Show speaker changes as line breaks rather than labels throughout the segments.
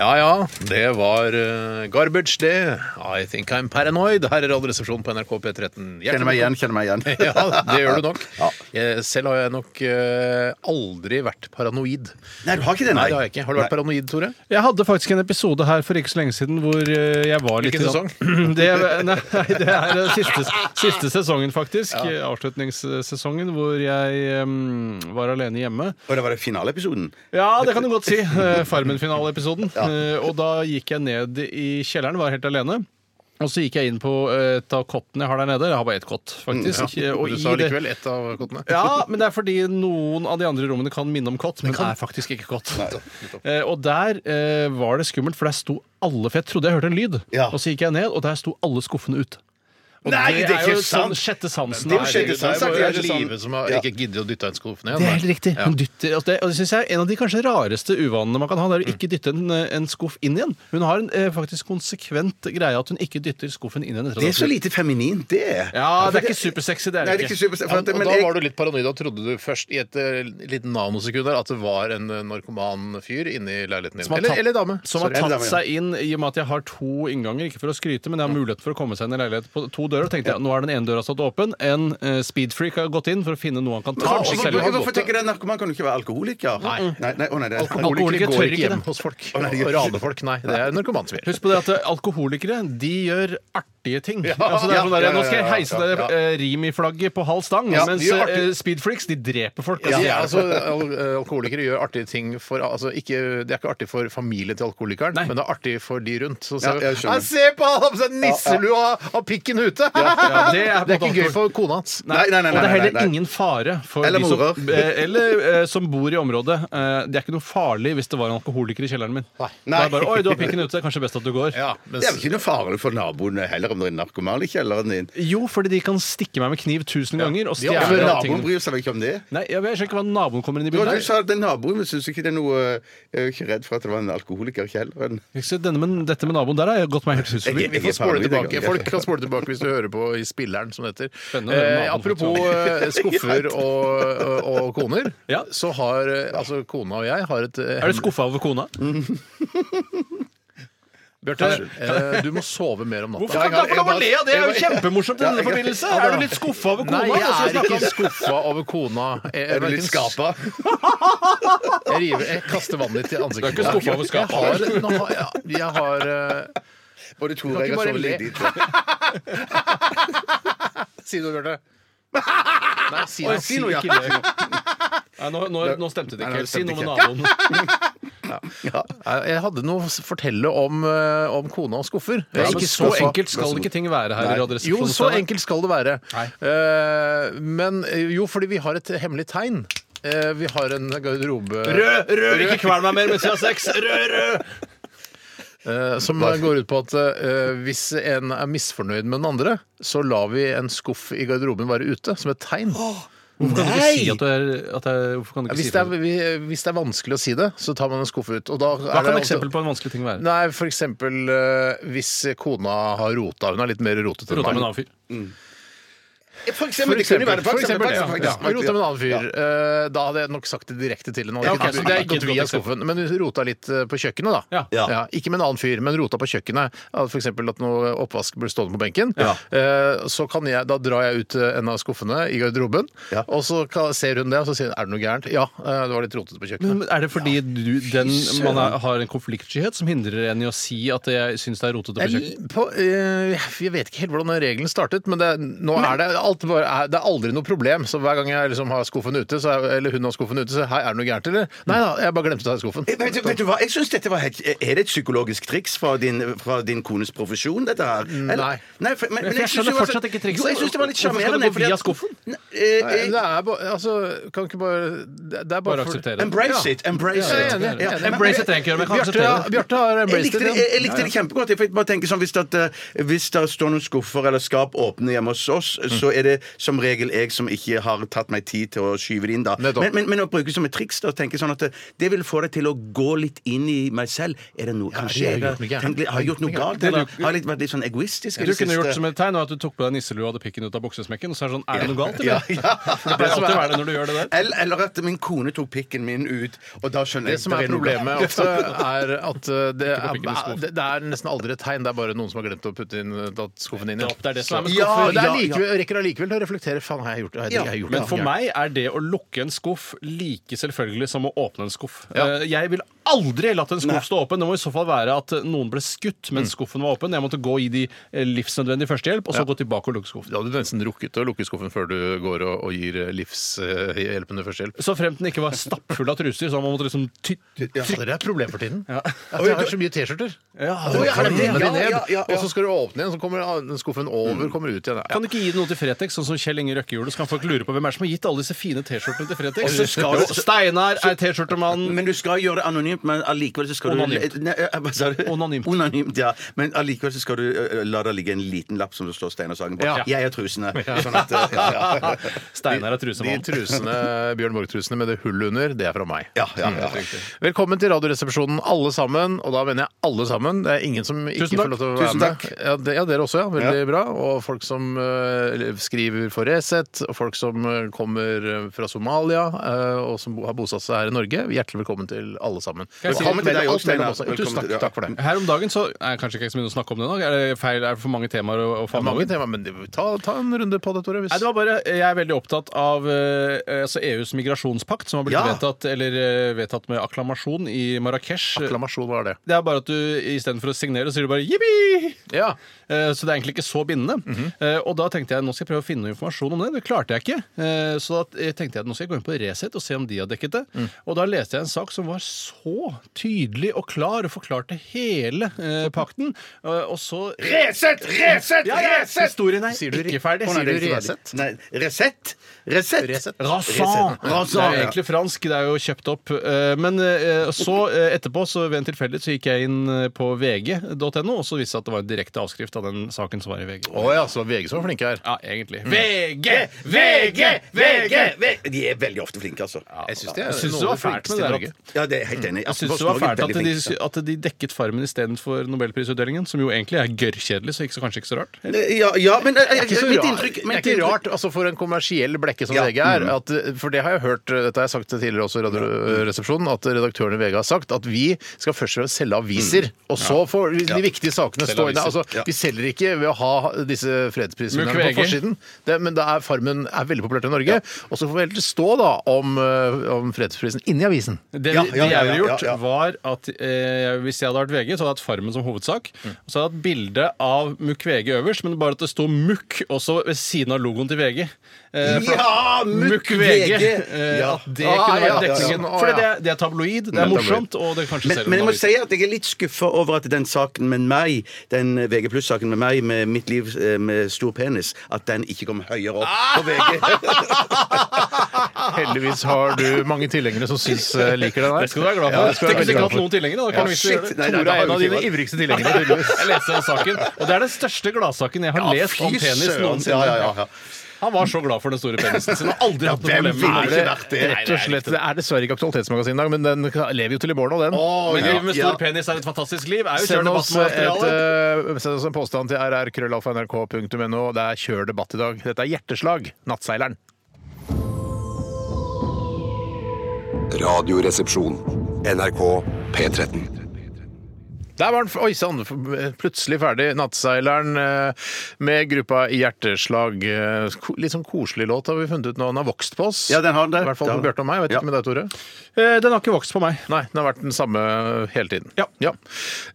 Ja ja, det var eh, Garbage, det. I think I'm paranoid. Her er Radioresepsjonen på NRK P13.
Kjenner meg igjen, kjenner meg igjen.
Ja, det gjør du nok.
Ja.
Eh, Selv har jeg nok eh, aldri vært paranoid.
Nei, du har ikke det, nei.
Nei, det har jeg ikke. Har du vært paranoid, Tore?
Jeg hadde faktisk en episode her for ikke så lenge siden hvor eh, jeg var litt
Hvilken
i- Det, nei, det er eh, siste, siste sesongen, faktisk. Eh, Avslutningssesongen hvor jeg em, var alene hjemme.
Og det var det finaleepisoden.
Ja, det kan du godt si. Eh, Farmen-finaleepisoden. Eh, Og da gikk jeg ned i kjelleren, var helt alene. Og så gikk jeg inn på eh, et av kottene jeg har der nede. Jeg har bare ett kott, faktisk. Eh, Og
Mm, du
i
sa
det-
likevel ett av kottene.
Ja, men det er fordi noen av de andre rommene kan minne om kott, men er faktisk ikke kott. Eh, og der eh, var det skummelt, for der sto alle For jeg trodde jeg hørte en lyd,
Ja.
og så gikk jeg ned, og der sto alle skuffene ut. Og
Nei, det er ikke
jo
sant.
sånn sjette sansen.
Det er jo
her.
sjette
Det
sansen.
er
Det er
bare
ikke sant.
livet som har
Ja.
ikke giddet å dytte en skuff ned.
Det er helt riktig.
Ja.
Hun dytter, og det, og det synes jeg er En av de kanskje rareste uvanene man kan ha, det er
Mm.
å ikke dytte en, eh, en skuff inn igjen. Hun har en eh, faktisk konsekvent greie at hun ikke dytter skuffen inn igjen. etter at
Det
hun
er
har
så lite feminint, det.
Ja, det er ikke supersexy, det er
Nei,
det
det er
ikke.
ikke supersexy.
Ja,
For
og
at, men
da
jeg,
var du litt paranoid. Da trodde du først i et eh, lite nanosekund der at det var en eh, narkoman fyr inni leiligheten din.
Som har
Eller,
tatt-
eller dame.
Som har
Sorry.
tatt
Dame, ja.
seg inn i og med at jeg har to innganger, ikke for å skryte, men jeg har mulighet for å komme seg inn i leilighet på to dører. tenkte jeg, Nå er den ene døra stått åpen. En eh, speedfreak har gått inn for å finne noe han kan ta.
Hvorfor-
ikke
og
selv
hvorfor-
har
Hvorfor tenker jeg narkoman kan jo ikke være alkoholiker? Nei. nei, nei, å, nei det er
Alkoholikere
Alkoholikere tør
går
ikke
ikke hjem
det.
hos folk.
Å, nei,
Og raner folk. Nei, det er narkomane som gjør.
Husk på det at eh, alkoholikere de gjør artige ting. altså, det er sånn der,
ja, ja,
nå skal jeg
ja,
heise det eh, rim i flagget på halv stang,
Ja,
mens
de gjør artig-
eh, speedfreaks de dreper folk.
Ja,
Altså,
de er altså, al alkoholikere gjør artige ting for altså, ikke, Det er ikke artig for familien til alkoholikeren, men det er artig for de rundt. Så, ser
Ja,
vi,
jeg skjønner.
«Nei, se på han har på seg nisselua og pikken ute!
ja, det
det,
er
er
på en måte
ikke gøy for kona hans.
Nei, nei, nei,
og det er
nei,
heller
nei, nei.
ingen fare for
Eller
de som,
morer.
eh, eller, eh, som bor i området. Eh, det er ikke noe farlig hvis det var en alkoholiker i kjelleren min. Nei. Da er det bare, Oi, du har pikken ute, kanskje best at du går.
Ja, mens,
Det er vel ikke noe farlig for naboene heller om det er narkoman i kjelleren din.
Jo, fordi de kan stikke meg med kniv tusen ganger og
De har-
Ja, men
stjele
Naboen
tingene.
bryr seg vel ikke om det?
Nei, jeg skjønner ikke hva naboen kommer inn i
Du, du
bildet. her.
sa at den naboen syns ikke det er noe Jeg er jo ikke redd for at det var en alkoholiker i kjelleren.
Jeg ser Denne med, dette med naboen der har jeg gått meg helt hus forbi.
vi får spole tilbake. Folk kan spole tilbake hvis du hører på i spilleren, som det heter.
Spennende å høre med
Eh,
naboen,
apropos eh, skuffer og, og, og koner,
Ja.
så har eh, altså kona og jeg har et eh,
Er du skuffa over kona?
Bjarte, eh, du må sove mer om natta.
Hvorfor kan
Jeg- jeg-
man le av det? Det er jo kjempemorsomt i denne
jeg-
forbindelse! Er du litt skuffa over kona?
Nei, jeg
Altså,
er
vi snakker om-
ikke skuffa over kona. Jeg,
Er du litt skapa?
Jeg, river, jeg kaster vannet ditt i ansiktet.
Du er ikke skuffa over skapet?
Jeg har, nå har, jeg, jeg har eh,
Både
Du kan
Tore og jeg
ikke
har
bare
sovet
le.
litt lite.
Si noe, Bjarte. Nei, si
Oi,
noe.
si noe, ja. Nei, nå, nå, nå stemte det
Nei, nå
ikke. Si
stemte
noe med
ikke.
naboen.
Nei, Jeg hadde noe å fortelle om, eh, om kona og skuffer. Jeg er
men
ikke
så
skuffa.
enkelt skal ikke ting være her. i
Jo,
Radioresepsjonen.
så enkelt skal det være. Eh, men eh, jo, fordi vi har et hemmelig tegn. Eh, vi har en garderobe
Rød, rød, ikke kvel meg mer mens jeg har sex! Rød, rød!
Eh, Som går ut på at eh, hvis en er misfornøyd med den andre, så lar vi en skuff i garderoben være ute som et tegn.
Hvorfor kan du ikke si at du er, at det er Hvorfor kan du
Ja,
ikke
Hvis
si
det,
det?
er, vi, hvis det er vanskelig å si det, så tar man en skuff ut. Og da er det
Hva kan
også-
eksempel på en vanskelig ting være?
Nei, for eksempel eh, hvis kona har rota. Hun er litt mer rotete
Rota med en
meg.
annen fyr.
For
For
eksempel, det
eksempel,
kunne jo være-
for eksempel,
faktisk,
ja.
faktisk,
Ja,
faktisk,
rota med en annen fyr. Eh, Da hadde jeg nok sagt det direkte til henne.
Ja,
Ja,
ok, så det er ikke et
gått
godt
via
eksempel.
skuffen, men hun rota litt eh, på kjøkkenet, da.
Ja.
Ja. ikke med en annen fyr, men rota på kjøkkenet. Ja, For eksempel at noe oppvask blir stående på benken. Eh, Så kan jeg, da drar jeg ut eh, en av skuffene i garderoben,
Ja.
og så kan- ser hun det, og så sier hun 'er det noe gærent'? Ja, eh, det var litt rotete på kjøkkenet.
Men er det fordi du, den, man er, har en konfliktskyhet som hindrer en i å si at jeg syns det er rotete på
Jeg,
kjøkkenet?
på, eh, jeg vet ikke helt hvordan den regelen startet, men det, er- nå er det, alt bare, er, det er aldri noe problem. Så hver gang jeg liksom har skuffen ute, så er, eller hun har skuffen ute, så hei, er det noe gærent, eller? Nei da, jeg bare glemte å ta i skuffen.
Jeg- Eh, Vet, du- vet du hva, jeg synes dette var helt, Er det et psykologisk triks fra din, fra din kones profesjon, dette her? Eller-
Nei.
Nei, for, men, men
Mm, jeg skjønner
synes jo altså-
fortsatt ikke trikset.
Jo, jeg synes det var litt
Hvorfor skal det
sjarmerende.
gå
fordi
via
at-
skuffen?
Nei, eh,
Nei,
eh,
det er bare, altså, kan ikke bare Det det er bare,
Bare
for-
akseptere det.
Embrace it! Embrace
Ja,
it!
jeg er enig.
Ja, men-
Embrace it, trenger ikke gjøre, men jeg kan
Bjarte,
akseptere det.
Bjarte har
Jeg
embraced
likte
det.
det,
ja.
jeg likte
Mm.
det kjempegodt. Jeg fikk bare tenke sånn, hvis, det at, eh, hvis det står noen skuffer eller skap åpne hjemme hos oss, så er er det som regel jeg som ikke har tatt meg tid til å skyve det inn, da.
Nettopp.
Men, men, men å bruke som et triks da, og tenke sånn at det, det vil få deg til å gå litt inn i meg selv. Er det noe Kanskje
jeg
jeg
har
har,
gjort noe gærent.
tenkt litt- har jeg gjort noe galt?
Det du-
Eller har jeg litt vært litt sånn egoistisk? i
Du
det
kunne
siste?
gjort som et tegn og at du tok på deg nisselua og hadde pikken ut av buksesmekken. Og så er det sånn Er det noe galt,
ja,
eller?
ja.
Det pleier alltid å være det når du gjør det der.
sånn- Eller, eller at min kone tok pikken min ut, og da skjønner
Det
jeg
som er
noe
problemet
galt.
ofte, er at eh, det
Ikke på
er,
pikken i skuffen.
det- det er nesten aldri et tegn. Det er bare noen som har glemt å putte inn eh, tatt skuffen inn.
Det er det som er med
Ja,
skuffer.
men det er
Ja, ja.
likevel, rekker allikevel til å reflektere. Faen, har jeg gjort det? Har jeg-
Ja,
jeg har gjort
Men
det?
for
Ja.
meg er det å lukke en skuff like selvfølgelig som å åpne en skuff.
Ja.
Eh, Jeg ville aldri latt en skuff stå åpen. Det må i så fall være at noen ble skutt mens skuffen var åpen. Jeg måtte gå og gi de eh, livsnødvendig førstehjelp, og så gå tilbake og lukke skuffen.
Du hadde nesten rukket å lukke skuffen før du går og, og gir eh, livshjelpende førstehjelp.
Så fremt den ikke var stappfull av truser, så man måtte liksom ty
Ja, det er et problem for tiden.
Ja.
At jeg har så mye T-skjorter.
Ja,
Du
det-
klemmer de
ja, ja,
ned,
ja, ja.
Og så skal du åpne igjen, så kommer den skuffen over, kommer ut igjen.
Kan du ikke gi det noe til Fretex, sånn som Kjell Inge Røkke gjorde? Så kan folk lure på hvem er det som har gitt alle disse fine T-skjortene til Fretex?
Og så skal du-
Jo, Steinar er T-skjortemannen.
Men du skal gjøre det anonymt, men allikevel så skal
Onanimt.
du Nei, eh, Hva sa du?
Onanimt.
Onanimt, ja. Men allikevel så skal du eh, la det ligge en liten lapp som det står Steinar Sagen på.
Ja.
Jeg er trusene. Sånn at eh, ja, ja.
Steinar er
De
trusemann.
trusene, Bjørn Borg-trusene med det hullet under, det er fra meg.
Ja, ja,
Mm,
ja.
Velkommen til Radioresepsjonen, alle sammen. Og da mener jeg alle sammen. Det er ingen som ikke
Tusen takk.
får lov til å være
Tusen
med.
takk.
Ja, det, ja, dere også, ja. Veldig bra. Og folk som eh, skriver for Resett, og folk som eh, kommer eh, fra Somalia, eh, og som bo- har bosatt seg her i Norge. Hjertelig velkommen til alle sammen.
jeg si-
Velkommen til deg også, Steinar.
Velkommen til-
Tusen takk,
ja.
takk for det.
Her om dagen så er kanskje ikke så mye å snakke om det nå. Er det feil? Er det for mange temaer å, å
Det
få
er
med?
mange tema, men det- ta, ta en runde på det, Tore. Hvis...
Nei, det var bare, Jeg er veldig opptatt av eh, altså EUs migrasjonspakt, som har blitt
Ja.
vedtatt, eller, eh, vedtatt med akklamasjon i Marrakech.
Akklamasjon, hva er det?
Det er bare at du istedenfor å signere, så sier du bare jippi!
Ja.
Eh, Så det er egentlig ikke så bindende.
Mhm.
Eh, Og da tenkte jeg nå skal jeg prøve å finne noe informasjon om det. Det klarte jeg ikke. Eh, Så da eh, tenkte jeg at nå skal jeg gå inn på Resett og se om de har dekket det.
Mm.
Og da leste jeg en sak som var så tydelig og klar og forklarte hele eh, pakten. Eh, Og så
Resett! Resett!
Ja, ja,
Resett!
Historien er
Sier du re-
ikke ferdig.
Å, nei,
Sier du
det er ikke
Resett?
Resett?
Nei, Resett? Resett?
Resett.
Rasan!
Rasan,
Det er jo
ja.
egentlig fransk, det er jo kjøpt opp. Eh, Men eh, så eh, etterpå, så ved en tilfeldighet, så gikk jeg inn eh, på vg.no, og så viste det seg at det var en direkte avskrift av den saken som var i VG.
Å ja, så det var VG som var flinke her.
Ja, egentlig. VG!
VG! VG! VG! De er veldig ofte flinke, altså.
Jeg syns det, er
Jeg syns
noen av
det var
de
fælt
flinkeste
med
i
det.
Norge.
at-
Ja, det er helt enig. Altså,
Jeg syns det var
Aftenposten
fælt
er
at
veldig
de,
flinke.
at de dekket Farmen istedenfor nobelprisutdelingen, som jo egentlig er gørrkjedelig, så ikke så kanskje ikke så rart.
Ja, ja, men eh, eh,
Det er
mitt
ikke så rart,
inntrykk
det er ikke rart altså for en kommersiell blekke som
Ja. Mm.
VG er. At, eh, for det har jeg hørt, dette har jeg sagt tidligere også i Radioresepsjonen, at redaktørene i VG har sagt at vi skal først og fremst selge aviser,
Mm.
og så får vi de viktige sakene
Selge
stå inne.
aviser.
Altså,
Ja.
Vi selger ikke ved å ha disse fredsprisene
Mukk
på
VG.
forsiden, det, men da er Farmen er veldig populært i Norge. Og så får vi heller stå da om, eh, om fredsprisen inni avisen.
Det,
Ja,
det
ja, ja,
jeg ville
ja, ja,
gjort,
ja.
var at eh, hvis jeg hadde vært VG, så hadde jeg hatt Farmen som hovedsak. Og så hadde jeg hatt bilde av Mukk-VG øverst, men bare at det sto Mukk også ved siden av logoen til VG. Eh, for-
Ja,
Mukk VG! eh,
Ja.
At det
Ah,
kunne
ja, ja, ja.
vært dekningen.
Sånn, å,
For det,
ja.
er- det er tabloid, det
er
er
tabloid.
morsomt, og det kanskje
Men,
selger
men jeg
noen
må
aviser.
si at jeg er litt skuffa over at den saken med meg, den VG saken med meg med mitt liv eh, med stor penis, at den ikke kom høyere opp på VG.
Heldigvis har du mange tilhengere som syns eh, liker det der.
Det skal du være glad for.
Ja, det
Tenk
skal du være veldig
hvis jeg ikke
glad
hatt
for.
noen tilhengere. da, da
Ja,
kan vi ikke
shit,
gjøre det.
nei, nei,
Tore
det
er
har
en
jo
av
ikke
dine
vært.
ivrigste tilhengere, tydeligvis.
Jeg leste den saken, og det er den største gladsaken jeg har lest om penis noensinne.
Ja, ja, ja, ja.
Han var så glad for den store penisen sin og har aldri hatt noe
hvem
problem med
ville
det.
ikke vært det?
Rett og slett, Det er dessverre ikke Aktualitetsmagasinet i dag, men den lever jo til i morgen òg, den.
Men livet med stor
Ja.
penis er et fantastisk liv. Er jo kjør
Send oss,
debatt med
et,
materiale.
eh, send oss en påstand til rrkrøllalfa.nrk.no. Det er kjør debatt i dag. Dette er Hjerteslag, Nattseileren.
Radioresepsjon. NRK P13.
Der var den f- Oi sann, f- plutselig ferdig. 'Nattseileren' eh, med gruppa Hjerteslag. Eh, ko- Litt sånn koselig låt har vi funnet ut nå. Den har vokst på oss.
Ja, den har det.
I hvert fall på
Ja.
Bjarte og meg. Vet
Ja.
ikke med deg, Tore.
Eh, Den har ikke vokst på meg.
Nei, den har vært den samme hele tiden.
Ja.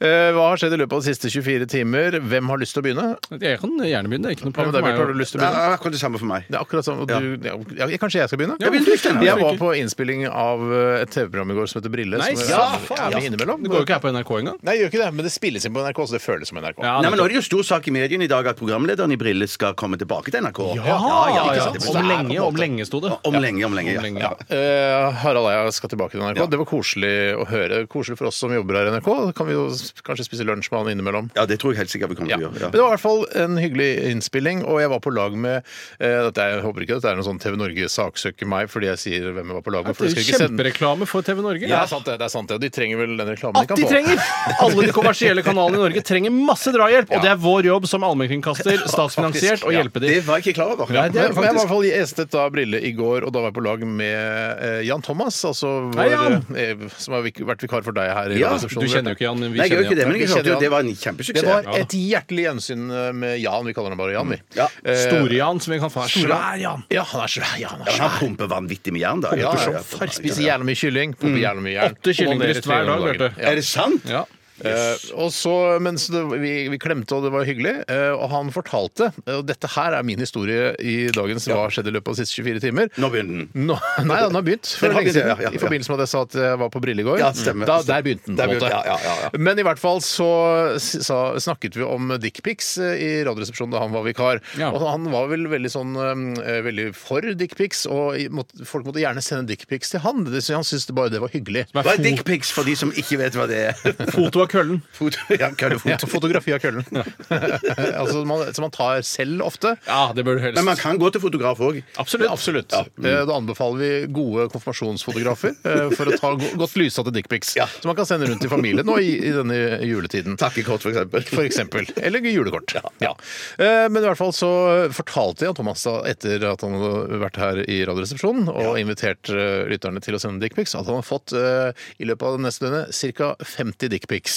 Eh, Hva har skjedd i løpet av de siste 24 timer? Hvem har lyst til å begynne?
Jeg kan gjerne begynne. Det er ikke noe
Hva med
problem
deg, Bjarte? Har
for
du
meg. å-
lyst til å
Det
begynne?
er akkurat det samme for meg.
Det er akkurat samme. og Du, ja. ja, kanskje jeg skal begynne?
Ja, vil du, Steinar?
jeg var på
Hvorfor
innspilling av eh, et TV-program i går som heter Brille.
Nei,
som
ja,
jeg er med innimellom.
Det går jo ikke her på NRK engang.
Nei, jeg gjør ikke det, men det spilles inn på NRK, så det føles som NRK.
Ja,
Nei, men Nå er det jo stor sak i mediene i dag at programlederen i Brille skal komme tilbake til NRK.
Ja, ja,
ikke
ja.
sant?
det
Så det
Om
er
blir-
lenge, om lenge sto det.
Om lenge, om lenge.
Om lenge,
Ja.
ja.
Eh, Harald Eia skal tilbake til NRK. Det var koselig å høre. Koselig for oss som jobber her i NRK. Da kan vi jo s- kanskje spise lunsj med han innimellom.
Ja, det tror jeg helt sikkert vi kommer til å gjøre.
Men
Ja.
det var i hvert fall en hyggelig innspilling, og jeg var på lag med eh, dette, er- Jeg håper ikke dette er noe sånn TV Norge saksøker meg fordi jeg sier hvem jeg var på lag med. For
Det
det skal
er jo
ikke sende
kjempereklame for TV Norge.
Ja, det er sant, det. det er sant det. Og de trenger vel den reklamen
At de trenger! Alle de kommersielle kanalene i Norge trenger masse drahjelp, og det er vår jobb som allmennkringkaster, statsfinansiert, å hjelpe dem.
Det var jeg ikke klar over.
Men jeg var i hvert fall gjestet da Brille i går, og da var jeg på lag med eh, Jan Thomas, altså vår,
Hei, Jan!
eh, som har vik- vært vikar for deg her. i
Ja,
Du
radioresepsjonen,
kjenner jo
Bjarte.
ikke Jan, men vi
Nei, jeg gjør
kjenner
ikke det,
Jan.
men jeg
Vi
hørte
kjenner
jo
han.
det var en
Det
kjempesuksess.
var
Ja da. Mm,
et hjertelig gjensyn eh, med Jan. Vi kaller han bare Jan, vi.
Ja.
Eh,
Store-Jan, som vi kan få.
Svær
Svær-Jan.
Ja, han er svær. Ja, han er
Ja,
svær.
Han pumper vanvittig med jern, da. Ja,
Ja,
ja, ja.
ja, Spiser jævla mye kylling. Pumper jævla mye jern.
Mm. Åtte
Onanerer
kyllingbryst hver dag,
tre ganger om
Bjarte.
dagen. Ja.
Er det sant?
Ja.
Eh, og så, mens det, vi, vi klemte og det var hyggelig, eh, og han fortalte eh, Og dette her er min historie i dagens Hva skjedde i løpet av de siste 24 timer.
Nå begynner den.
Nå, nei, han har begynt for
Den har
lenge
begynt,
siden.
ja, ja,
I
ja.
forbindelse med at jeg sa at jeg var på Brille i går.
Ja, stemmer.
da, der begynte den. på
Der
en måte.
begynte- ja, ja, ja, ja.
Men i hvert fall så s- sa, snakket vi om dickpics i Radioresepsjonen da han var vikar.
Ja.
Og han var vel veldig sånn eh, veldig for dickpics, og i- måtte, folk måtte gjerne sende dickpics til han. Det, så han syntes det bare det var hyggelig.
Hva er dickpics for de som ikke vet hva det er?
Foto av køllen.
Foto, ja, køddefoto.
Ja, fotografi av køllen. altså, man, som man tar selv ofte.
Ja, det bør du helst.
Men man kan gå til fotograf òg.
Absolutt. Absolutt.
Mm.
Eh, Da anbefaler vi gode konfirmasjonsfotografer eh, for å ta go godt lysete dickpics.
Ja.
Som man kan sende rundt til familien nå i, i denne juletiden.
Takkekort, for eksempel.
For eksempel. Eller julekort. Ja. Eh, Men i hvert fall så fortalte jeg Thomas da, etter at han hadde vært her i Radioresepsjonen og invitert eh, lytterne til å sende dickpics, at han har fått eh, i løpet av det neste døgnet ca. 50 dickpics.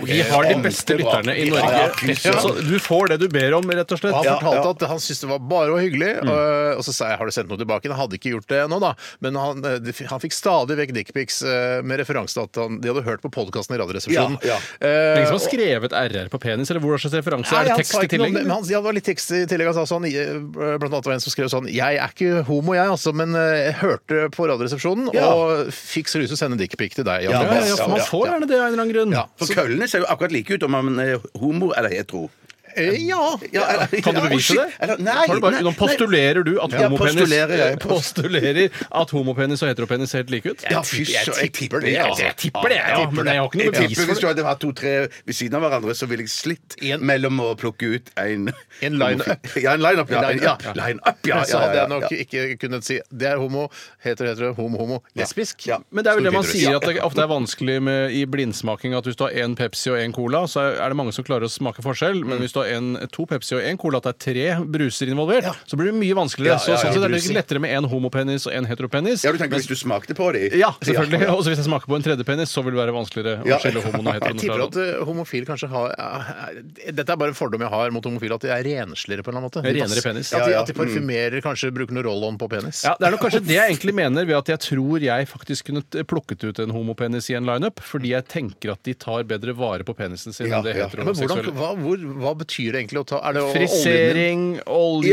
Vi
Eh,
har de beste lytterne i Norge.
Ja, ja.
Så du får det du ber om, rett og slett.
Og han
Ja,
fortalte
ja.
at han syntes det var bare var hyggelig.
Mm.
øh, Og, og så sa jeg har du sendt noe tilbake. Han hadde ikke gjort det ennå, da. Men han, eh, det- han fikk stadig vekk dickpics eh, med referanse til at han, de hadde hørt på podkasten i Radioresepsjonen.
Ja,
Eh,
Ingen som har skrevet RR på penis, eller hvor slags referanse?
Nei,
Er det
han
tekst
sa
i
ikke noe om
tillegg?
det, men han, ja, det var litt tekst i tillegg. Han sa sånn, eh, blant annet var det en som skrev sånn Jeg er ikke homo, jeg, altså, men eh, jeg hørte på Radioresepsjonen
Ja.
og fikk så lyst til å sende dickpic til deg. Jan
Ja,
Ja,
Thomas.
ja, for man får gjerne det av en eller annen grunn.
Ja.
For køllene ser jo akkurat like ut om man er homo eller hetero.
Eh, ja.
Ja, eller-
Kan du
ja,
bevise
shit,
det?
Eller, nei,
Har du bare,
nei,
nå postulerer du at
Ja,
homopenis
postulerer jeg.
postulerer at homopenis og heteropenis ser helt like ut?
nei. Ja, fy søren, jeg tipper det.
Jeg
altså.
tipper det, ja, men jeg har ikke noe
Jeg
bevis
tipper
for
Hvis du hadde hatt to-tre ved siden av hverandre, så ville jeg slitt
En-
mellom å plukke ut en
En line-up.
Ja, en line-up, ja.
En line-up.
ja. Line-up, ja,
så
ja,
hadde
ja,
jeg nok
ja.
ikke kunnet si det er homo, heter heter homo, homo, lesbisk.
Ja.
Men det er vel
Stor
det man
klitoris.
sier, at det ofte er vanskelig med, i blindsmaking at hvis du har én Pepsi og én Cola, så er det mange som klarer å smake forskjell,
Mm.
men hvis du har en, to Pepsi og én Cola, at det er tre bruser involvert, så blir det mye vanskeligere.
Ja, ja, ja,
så sånn sett er det
bruser.
litt lettere med én homopenis og én heteropenis.
Ja, du tenker hvis du smakte på dem?
Ja, selvfølgelig. Og så hvis jeg smaker på en tredje penis, så vil det være vanskeligere å
Ja.
skille homoen og
Jeg
heteroen
tipper
fra
at eh, homofile kanskje har er- er- Dette er bare en fordom jeg har mot homofile, at de er renslere på en eller annen måte. De
Renere
pass-
penis.
At
Ja,
de,
ja.
at de parfymerer, kanskje bruker noe roll-on på penis.
Ja, Det er nok kanskje det jeg egentlig mener ved at jeg tror jeg faktisk kunne t- plukket ut en homopenis i en lineup, fordi jeg tenker at de tar bedre vare på penisen sin
Ja,
enn det
ja.
Men hvordan,
heteroseksuelle.
hva, hvor, hva betyr det egentlig å ta er det å-
Frisering,
Ja,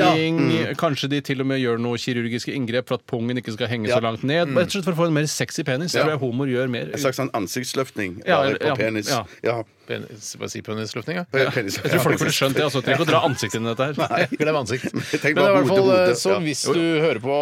oljing
mm.
Kanskje de til og med gjør noe kirurgiske inngrep for at pungen ikke skal henge
Ja.
så langt
Mm.
ned. Rett og slett for å få en mer sexy penis. Jeg tror jeg homoer gjør mer.
En slags sånn ansiktsløftning
Ja,
bare
ja,
på penis.
ja.
Ja.
Penis, hva sier penisløftning, ja?
Penis.
Jeg tror folk ville skjønt det. altså, Trenger ikke å dra ansiktet inn i dette her.
Glem ansikt. Men i
tenk bare
hvert fall,
hode, hode,
så
ja.
hvis du hører på,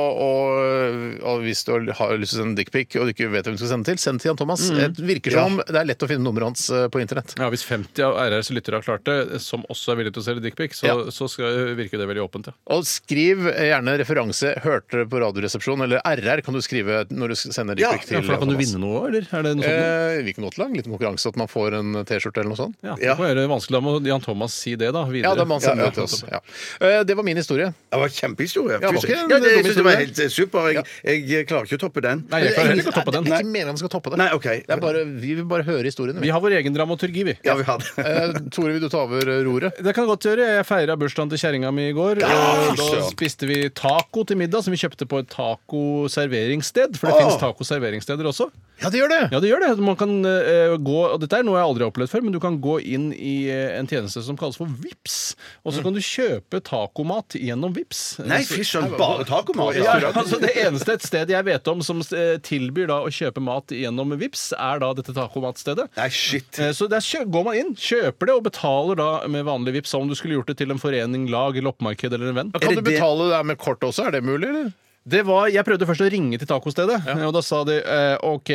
og, og hvis du har lyst til å sende dickpic, og du ikke vet hvem du skal sende til, send til Jan Thomas. Det virker som det er lett å finne nummeret hans eh, på internett.
Ja, Hvis 50 av RRs lyttere har klart det, som også er villige til å selge dickpic, så,
Ja.
så skal, virker det veldig åpent. ja.
Og skriv eh, gjerne referanse 'hørte på Radioresepsjonen', eller RR kan du skrive når du sender
Ja,
dickpic
Ja,
til
for da kan du
Thomas.
vinne noe, eller? Er det noe sånt? noe?
Eh, vi kunne godt lage en liten konkurranse, at man får en T-skjorte eller noe sånt.
Ja,
ja.
Det må være vanskelig. Da må Jan Thomas si det, da. Videre.
Ja, da må han sende
Ja, ja.
det til oss. Ja. Eh, det var min historie.
Det var kjempehistorie.
Ja, var
Tusen-
ikke en
ja, det,
dum
jeg synes det var
historie.
helt eh, super. Jeg, jeg klarer ikke å toppe den.
Nei, jeg klarer heller ikke å toppe den.
Det er ikke meningen vi skal toppe det.
Nei, ok.
det er bare, vi vil bare høre historiene.
Vi
Vi.
har vår egen dramaturgi, vi.
Ja, vi har det.
Eh, Tore, vil du ta over eh, roret?
Det kan jeg godt gjøre. Jeg feira bursdagen til kjerringa mi i går.
Ja,
og da
søren.
spiste vi taco til middag, som vi kjøpte på et tacoserveringssted. For det
Å.
fins tacoserveringssteder også.
Ja, det gjør det!
Ja, det gjør det. Man kan eh, gå, og Dette er noe jeg aldri har opplevd før, men du kan gå inn i eh, en tjeneste som kalles for VIPS, og så kan du kjøpe tacomat gjennom VIPS.
Nei, fy søren, bare tacomat!
Ja, altså Det eneste et sted jeg vet om som eh, tilbyr da å kjøpe mat gjennom VIPS, er da dette tacomatstedet.
Nei, shit.
Eh, Så der kjø- går man inn, kjøper det og betaler da med vanlig VIPS som om du skulle gjort det til en forening, lag, loppemarked eller en venn.
Kan
det
du
det-
betale det der med kort også? Er det mulig, eller?
Det var, Jeg prøvde først å ringe til tacostedet, og da sa de eh, OK,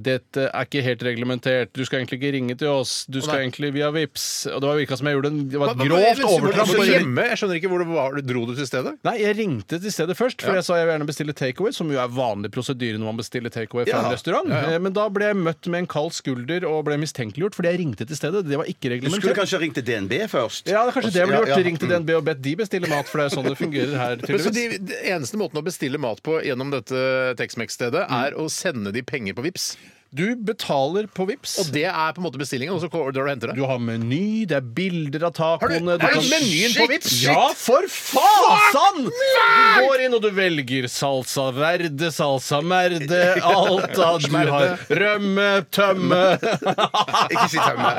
dette er ikke helt reglementert, du skal egentlig ikke ringe til oss, du skal egentlig via VIPS Og det var virka som jeg gjorde en, det var et grovt overtramp.
Hvor hjemme? Jeg skjønner ikke hvor det var. Dro du til stedet?
Nei, jeg ringte til stedet først, for jeg sa jeg vil gjerne bestille takeaway, som jo er vanlig prosedyre når man bestiller takeaway fra en restaurant. Eh, Men da ble jeg møtt med en kald skulder og ble mistenkeliggjort fordi jeg ringte til stedet. Det var ikke
Du skulle
reglementert.
kanskje ha ringt til DNB først.
Ja, det er kanskje det jeg
Ja,
burde gjort.
ja.
Ringt til DNB og bedt de bestille mat, for det er sånn det fungerer her.
Mm. Men så
tydeligvis.
de, de eneste måten å bestille mat på gjennom dette Texmex-stedet, er å sende de penger på Vips
Du betaler på VIPS
Og det er på en måte bestillingen, og så går du og henter
Du
det?
har meny, det er bilder av
Har
tacoene
du- er det menyen på Vipps? Shit!
Ja, for fasan! Du går inn og du velger salsa verde, salsa merde, alt av Du har rømme, tømme
Ikke si tømme.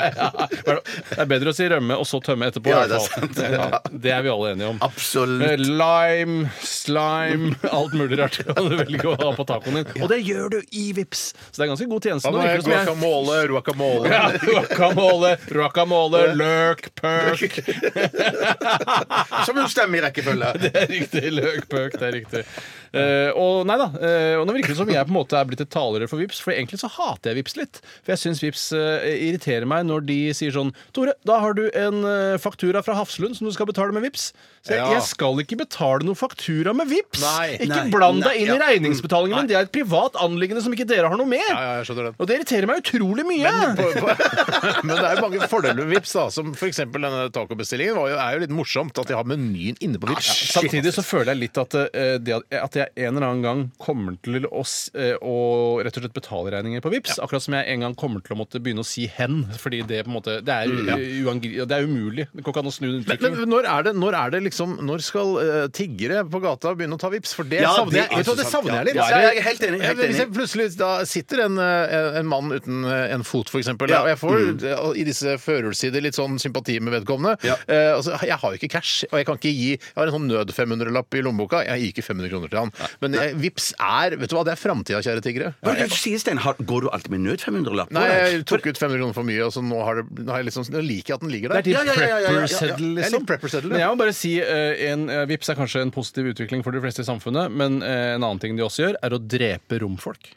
Det er bedre å si rømme og så tømme etterpå.
Ja,
i hvert
det er
fall. Ja, det er vi alle enige om. Eh,
Absolutt.
Lime, slime, alt mulig rart kan du velge å ha på tacoen din. Og det gjør du i Vips Så det er ganske god tjeneste. Nå virker det som jeg-
Eh, Guacamole, guacamole
ja, guacamole, guacamole, løk, pøk.
Som hun stemmer i rekkefølge.
Det er riktig. Løkpøk, det er riktig. Eh, og nei da, eh, og nå virker det som jeg på en måte er blitt et talerør for Vips for egentlig så hater jeg Vips litt. For jeg syns Vips eh, irriterer meg når de sier sånn Tore, da har du en eh, faktura fra Hafslund som du skal betale med Vips Så jeg,
Ja.
jeg skal ikke betale noe faktura med Vips
Nei, Mm,
Ikke
nei,
bland
nei,
deg inn
ja.
i regningsbetalingen min, det er et privat anliggende som ikke dere har noe med.
ja, jeg skjønner den.
Og det irriterer meg utrolig mye.
Men det er jo mange fordeler med Vips da Som for eksempel denne tacobestillingen var jo, er jo litt morsomt at de har menyen inne på Vips
Samtidig så føler jeg litt at, eh, det at, at jeg en eller annen gang kommer til å, s- eh, å rett og slett betale regninger på Vips Akkurat som jeg en gang kommer til å måtte begynne å si 'hen'. Fordi det på en måte Det er, u- uangri- det er umulig. Det går ikke an å snu den
Men
utviklingen.
når er det, når er det liksom Når skal eh, tiggere på gata begynne å ta vips? For det
Ja,
savner
det
jeg,
er
vet du, hva, det
sant,
savner
ja.
jeg litt.
Ja, jeg er helt enig, helt
Jeg- Hvis
enig.
jeg plutselig da sitter en, eh, en mann uten eh, en fot, for eksempel,
Ja. mm.
og jeg får eh, i disse førjulssider litt sånn sympati med vedkommende
Ja.
eh, altså, Jeg har jo ikke cash, og jeg kan ikke gi Jeg har en sånn nød-500-lapp i lommeboka. Jeg gir ikke 500 kroner til han. Men eh, vips er Vet du hva, det er framtida, kjære tiggere.
Hva er det du sier, Stein? Har- Går du alltid med nød 500-lapp?
Nei, jeg tok ut 500 kroner for mye, og så nå, har det, nå, har jeg liksom, nå liker jeg at den ligger der.
Det er din
Ja, ja, ja, ja, ja, ja, ja.
prepper-seddel,
Det er
liksom.
litt prepper-seddel, ja.
Men jeg må bare si eh, en, eh, Vips er kanskje en positiv utvikling for de fleste i samfunnet, men eh, en annen ting de også gjør, er å drepe romfolk.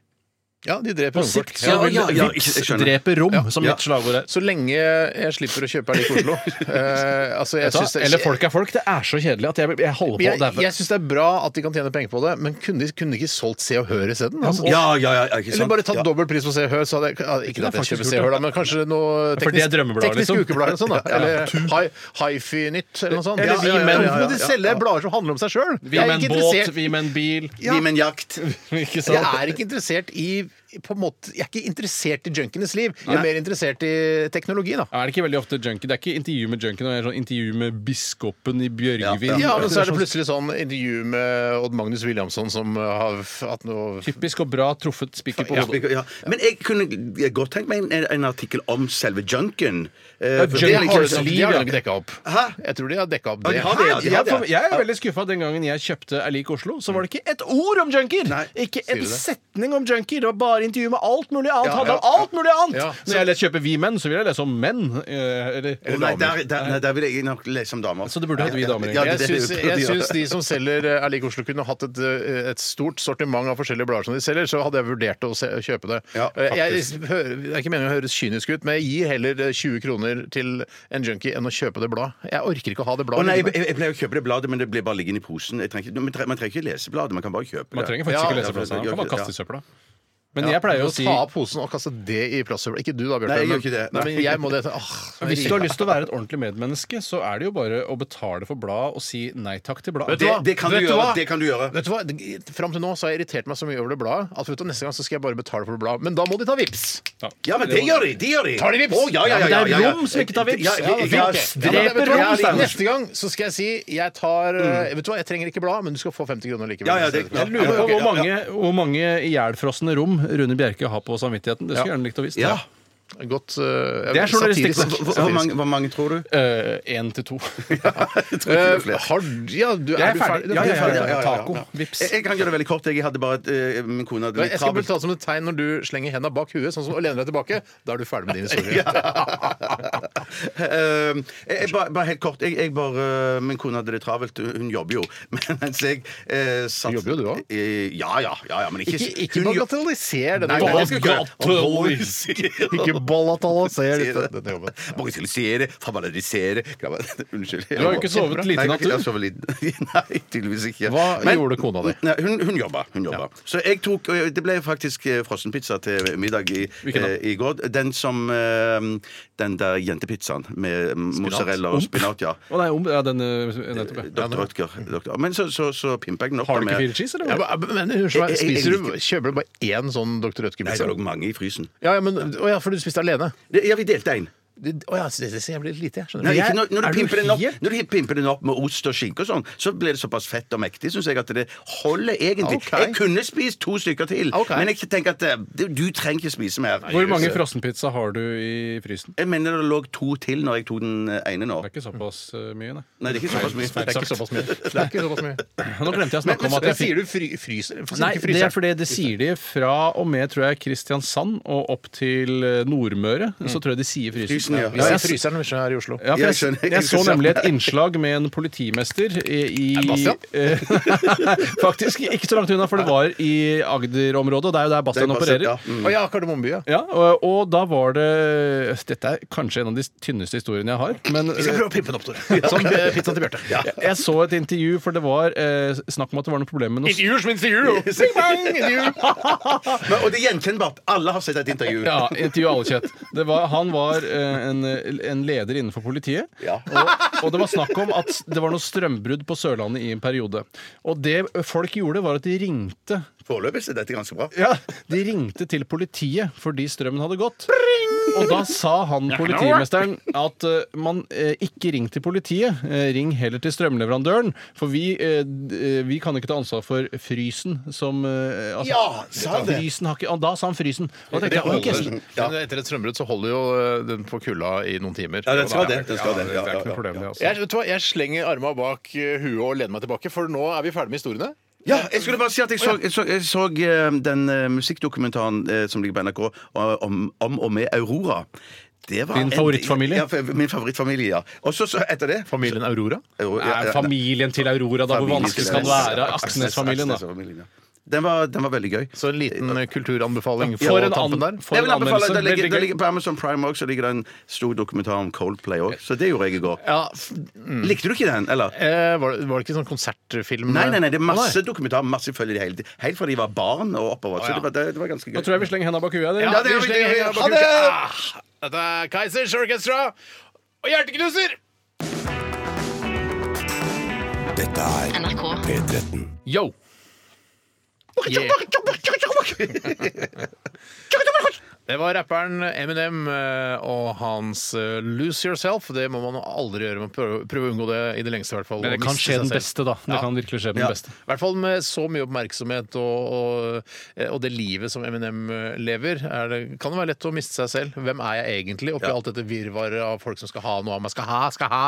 Ja, de dreper
På
romfolk.
sikt
Ja.
så vil
ja, ja,
Vips
jeg skjønner.
drepe rom, som
Ja.
mitt slagord er.
Så lenge jeg slipper å kjøpe her i Oslo. Eh, altså, jeg
Vet
syns
du hva?
det,
Eller folk er folk. Det er så kjedelig at jeg, jeg holder på
Jeg,
å daue.
jeg syns det er bra at de kan tjene penger på det, men kunne de, kunne de ikke solgt Se og Hør isteden? Altså,
Ja, ja, ja, ikke sant?
Eller bare tatt
Ja.
dobbel pris på Se og Hør? Så hadde jeg, ja, ikke at jeg
faktisk
kjøper
gjort
Se og Hør,
det.
da, men kanskje noe
for det er
teknisk,
drømmeblader,
teknisk
liksom.
ukeblad eller noe sånt. Da.
Ja, ja.
Eller hi- Hifi-nytt eller noe sånt.
Eller Vi
ja, ja,
Menn.
ja, ja, ja. Men de selger blader som handler om seg sjøl.
Vi
Jeg er
med en
ikke
båt,
interessert
vi med en bil.
Vi med en jakt.
Ikke sant?
jeg er ikke interessert i på en måte, Jeg er ikke interessert i junkienes liv. Jeg er mer interessert i teknologi, da.
Er det ikke veldig ofte junkie? Det er ikke intervju med junkie, det er sånn intervju med biskopen i Bjørgvin.
Ja, men så er det plutselig sånn intervju med Odd Magnus Williamson som har f- hatt noe
Typisk og bra truffet spiker på
Ja.
hodet.
Men jeg kunne godt tenkt meg en, en artikkel om selve junken. Eh, for
junk
det er
har
liksom-
du som liv,
de har
ja.
nok dekka opp.
Hæ?
Jeg tror de har dekka opp
Ja,
det.
de har det, ja, de har
Jeg,
det.
for, jeg er veldig skuffa den gangen jeg kjøpte Er lik Oslo. Så var det ikke et ord om junkier!
Nei,
Ikke
du
en
det?
setning om junkier. Det var bare intervju med alt mulig annet.
Ja,
Handla om
ja,
alt mulig annet!
Ja,
Når jeg leser- kjøper Vi menn, så vil jeg lese om menn. eh, Eller,
Å, Nei, der, der, nei, der vil jeg nok lese om damer.
Så det burde hett Vi damer, egentlig.
Ja,
Jeg
det- det-
syns,
det-
jeg syns de som selger eh, Er lik Oslo, kunne hatt et, eh, et stort sortiment av forskjellige blader som de selger, så hadde jeg vurdert å se, kjøpe det.
Ja,
Eh, jeg, hører, det er ikke meningen å høres kynisk ut, men jeg gir heller eh, 20 kroner til en junkie enn å kjøpe det bladet. Jeg orker ikke å ha det
Å
bladet.
nei,
liggende.
jeg, jeg pleier å kjøpe det bladet, men det blir bare liggende i posen. Jeg trenger, ikke- man trenger- man trenger ikke lese bladet, man kan bare kjøpe det.
Man trenger faktisk
Ja,
ikke
ja,
lese
for-
plassen. Man
gjør
kan bare
ikke det,
kaste i søpla. Men jeg pleier
Du
å
må
si
Ta av posen og kaste det i plastsøpla. Ikke du da, Bjarte.
Nei, jeg gjør
men-
ikke det.
Nei, men jeg må det. Åh,
Hvis du har lyst til å være et ordentlig medmenneske, så er det jo bare å betale for bladet og si nei takk til bladet.
Vet du hva?
Det- det kan du
Vet
gjøre,
hva?
det kan du gjøre.
Vet du hva? Det- Fram til nå så har jeg irritert meg så mye over det bladet at vet du, neste gang så skal jeg bare betale for det bladet. Men da må de ta vips!
Ja, men det gjør de! de gjør de
Tar de vips?
Å, ja, ja, ja,
Ja, men det er
ja, ja.
rom som ikke tar vips.
Ja,
Ja,
jeg- jeg-
vips
jeg-
Ja, men vet du
Dreper
hva?
Ron Steinersen.
Neste gang så skal jeg si jeg tar eh, Vet du hva, jeg trenger ikke blad, men du skal få 50 kroner likevel.
Ja, ja, det-
Jeg lurer
Lurer på
ok,
hvor
ja,
mange, hvor mange ihjelfrosne rom Rune Bjerke har på samvittigheten. Det skulle jeg gjerne likt å visst.
Ja.
Godt eh,
Det er journalistikk.
satirisk.
Hvor, hvor, mange, hvor mange tror du?
Én til to.
Eh, har, ja, du,
Jeg
er,
er
du ferdig?
ferdig. Ja, ja, ja,
Du er ferdig,
ja, Taco. Vips.
Jeg, jeg kan gjøre det veldig kort. Jeg hadde bare et, eh, Min kone hadde
Men
litt
Jeg skal
travelt.
bli tatt som et tegn når du slenger henda bak huet sånn som, og lener deg tilbake. Da er du ferdig med din historie.
Eh, jeg, jeg, bare, bare helt kort. Jeg, jeg bare, eh, min kone hadde det travelt. Hun jobber jo. Men mens jeg eh, satt
Du jobber jo, du også?
Eh, ja, ja, ja, ja. Men ikke
Ikke, ikke
hun jo-
bagatelliser denne
Nei,
jobben.
nei, jeg skal
Ikke- Ikke bagatelliser dette- denne jobben.
Bagatellisere, formalisere Unnskyld. Du
har jo ikke sovet lite i natt, du.
Nei, jeg har sovet lite. nei tydeligvis ikke.
Hva gjorde kona di?
Nei, hun, hun jobba. Hun jobba. Så jeg tok og Det ble faktisk eh, frossenpizza til middag i,
Hvilken da?
eh, i går. Den som eh, Den der jentepizzaen med mozzarella og spinat, ja.
Å nei, om, ja, den, eh, nettopp, ja.
Dr. Rødger. Dr. Men så, så, så pimper jeg den opp.
Har du
med-
ikke fire cheese,
Ja,
eller? hva?
men- men unnskyld meg,
Jeg- jeg- jeg
spiser du,
liker-
Kjøper du bare én sånn Dr.
Nei, det
Rødtke-pizza?
lå mange i frysen.
Ja, ja, men, å ja, for du spiste alene?
Det- Ja, vi delte en.
Det- Å ja, så det det er så jævlig lite, jeg skjønner.
Nei,
Jeg-
ikke, når, når,
er
du
du
pimper den opp,
helt-
når du pimper den opp med ost og skinke og sånn, så blir det såpass fett og mektig, syns jeg, at det holder egentlig.
Ok.
Jeg kunne spist to stykker til,
Ok.
men jeg tenker at eh, du, du trenger ikke spise mer.
Hvor mange frossenpizza har du i frysen?
Jeg mener det lå to til når jeg tok den ene nå.
Det er ikke såpass eh, mye, nei.
Nei, det er ikke såpass mye.
Det er ikke såpass mye.
Det er ikke såpass mye.
Nå glemte jeg å
Men,
snakke
men
om
så,
at jeg fikk
sier du fry, fryser? Hvorfor sier du
Nei,
ikke
det
fryser?
er fordi det sier de fra og med tror jeg Kristiansand og opp til eh, Nordmøre. Så tror jeg de sier frysen.
Frysen, ja.
Mm. Ja,
jeg-
jeg fryser den hvis jeg er i Oslo.
Ja, for
Jeg
jeg,
skjønner.
jeg, så nemlig et innslag med en politimester i, i
Bastian?
eh, Faktisk ikke så langt unna, for det var i Agder-området, og det er jo der Bastian
Det Mm. er Bastian,
opererer.
ja.
Å ja, Kardemommeby, ja.
Ja, og, og da var det Dette er kanskje en av de tynneste historiene jeg har. Men
Vi skal prøve å pimpe den opp, Tor. Som eh, pizza til Bjarte.
jeg, jeg så et intervju, for det var eh, snakk om at det var noe problem med noe
Intervju som intervju! Bing, bang, intervju.
Men, og det er gjenkjennbart. Alle har sett et intervju.
Ja, intervju alle kjøtt. Det var, han var eh, en, en leder innenfor politiet.
Ja.
Og, og det var snakk om at det var noe strømbrudd på Sørlandet i en periode. Og det folk gjorde, var at de ringte
Foreløpig er dette ganske bra.
De ringte til politiet fordi strømmen hadde gått. Og da sa han politimesteren at eh, man eh, ikke ring til politiet, eh, ring heller til strømleverandøren. For vi, eh, d- eh, vi kan ikke ta ansvar for frysen som eh, altså,
Ja, sa han det?
Frysen har ikke, og da sa han frysen. Og da
Det
tenkte jeg,
holder.
ok,
Men etter et strømbrudd så holder jo eh, den på kulda i noen timer.
Ja, den skal
Og da-
det, den skal det. Ja,
Det er ikke
ja, ja.
noe problem, det. altså.
Jeg, vet du hva, jeg slenger arma bak eh, huet og lener meg tilbake, for nå er vi ferdig med historiene.
Ja, jeg skulle bare si at jeg så, jeg så, jeg så eh, den eh, musikkdokumentaren eh, som ligger på NRK eh, om, om og med Aurora. Det var
Din
en-
favorittfamilie?
Ja, f- min favorittfamilie, ja. Og så så etter det
Familien Aurora?
Aurora- ja,
Er
ja,
familien til Aurora, da? Hvor
familien
vanskelig
til
skal det
Aksnes-
være? Aksnes-familien, da.
Aksnes-familien, ja. Den var, den var veldig gøy.
Så en liten eh, kulturanbefaling på
For en,
tampen
an,
der.
for en
jeg vil anbefale,
anmeldelse.
det ligger, det
Veldig gøy.
ligger På Amazon Prime også, ligger det en stor dokumentar om Coldplay òg, så det gjorde jeg i går.
Ja, f- mm.
Likte du ikke den, eller?
eh, var, det, var det ikke sånn konsertfilm?
Nei, nei, nei, det er
Å,
masse dokumentarer. Masse følger de hele tiden. Helt fra de var barn og oppover.
Å, ja.
Så det var, det, det var ganske gøy.
Nå tror jeg vi slenger henda bak huet. dere.
Ja, vi
det gjør vi, det
slenger
gjør
henda
vi. Ha
bak
det!
uka. Ah, Dette er Keisers Orchestra og Hjerteknuser!
Dette er
NRK.
P13.
Yo! Yeah.
Det var rapperen Eminem eh, og hans eh, 'Lose Yourself'. Det må man aldri gjøre. Man prøver, prøver å unngå det i det lengste. I hvert fall,
Men det
å
kan
miste
skje
seg
den
selv.
beste, da. Det
Ja.
kan virkelig skje den
Ja.
beste.
I hvert fall med så mye oppmerksomhet og, og, og det livet som Eminem eh, lever, er det, kan det være lett å miste seg selv. Hvem er jeg egentlig oppi alt dette virvaret av folk som skal ha noe av meg, skal ha, skal ha,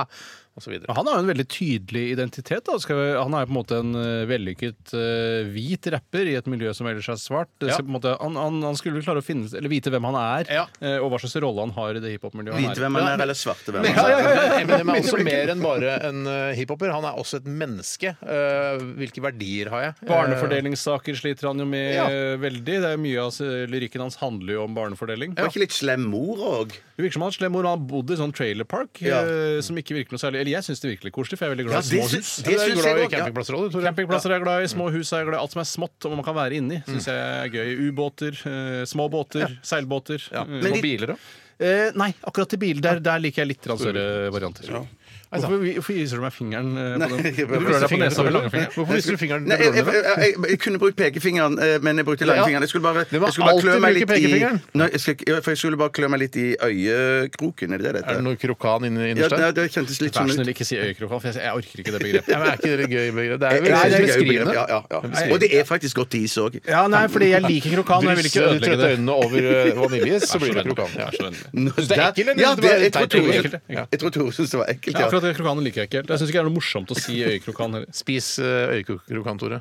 osv.
Ja, Han har jo en veldig tydelig identitet. Da. Skal vi, han er jo på en måte en eh, vellykket eh, hvit rapper i et miljø som ellers er svart. Det
Ja.
ser på en måte, han, han, han skulle klare å finne, eller vite hvem han er,
Ja.
eh, og hva slags rolle han har i det hiphop-miljøet. han er i.
Hvite hvem han er, eller svarte hvem han
Ja,
er.
ja, ja, ja. Eminem er også mer enn bare en eh, hiphoper. Han er også et menneske. Eh, hvilke verdier har jeg? Eh,
Barnefordelingssaker sliter han jo med
Ja.
eh, veldig. Det er Mye av s- lyrikken hans handler jo om barnefordeling.
Var ikke litt slem mor òg?
Det virker som han har slem mor. Han har bodd i sånn trailerpark
Ja.
eh, som ikke virker noe særlig Eller jeg syns det virker litt koselig, for jeg er veldig
Ja,
glad i
det
små hus.
Du
syns-
er
det syns jeg
glad i
også, ja.
campingplasser òg, du, Tore.
Campingplasser er jeg glad i, små hus er jeg glad i. Alt som er smått og man kan være inni, syns jeg er gøy. Ubåter, eh, små båter, seilbåter. eh,
Men
og
de-
biler òg? Eh, nei, akkurat til biler. Der, der liker jeg litt grann større varianter.
Ja. sant.
Hvorfor, hvorfor viser du meg fingeren? eh,
Nei,
på den?
jeg bare-
Du rører deg på nesa med langfingeren.
Hvorfor viser du fingeren med
Nei, jeg, jeg,
blodårene?
jeg, jeg, jeg kunne brukt pekefingeren, eh, men jeg brukte langfingeren. Jeg skulle bare,
Du må
jeg skulle bare
alltid
klø meg
bruke
litt i
pekefingeren.
Nei, jeg skal, ikke- ja, for jeg skulle bare klø meg litt i øyekroken. Er det det dette?
Er det noe krokan inni
ja,
innerst
nei,
der?
det kjentes litt
Vær så
sånn ut.
snill, ikke si øyekrokan, for jeg, jeg orker ikke det
Ja,
begrepet.
men er ikke det gøy? Birger? Det er
Jeg-
vel
jeg synes det er gøy begrep.
beskrivende.
Ja, ja, ja. Og det er faktisk godt is òg.
Ja, nei, fordi jeg liker krokan, og jeg vil ikke
Dryss
ødelegge
trøtte
det.
øynene over eh, vaniljeis, så blir det krokan. Ja.
Vær så vennlig.
Synes det er ekkelt, eller? Synes
Ja,
det bare
det, jeg, tror
er teit og
Tore-
ekkelt, ja.
jeg tror Tore syntes det var ekkelt.
Ja,
Ja.
akkurat det, krokanen liker jeg ikke helt. Jeg syns ikke det er noe morsomt å si øyekrokan heller.
Spis eh, øyekrokan, Tore.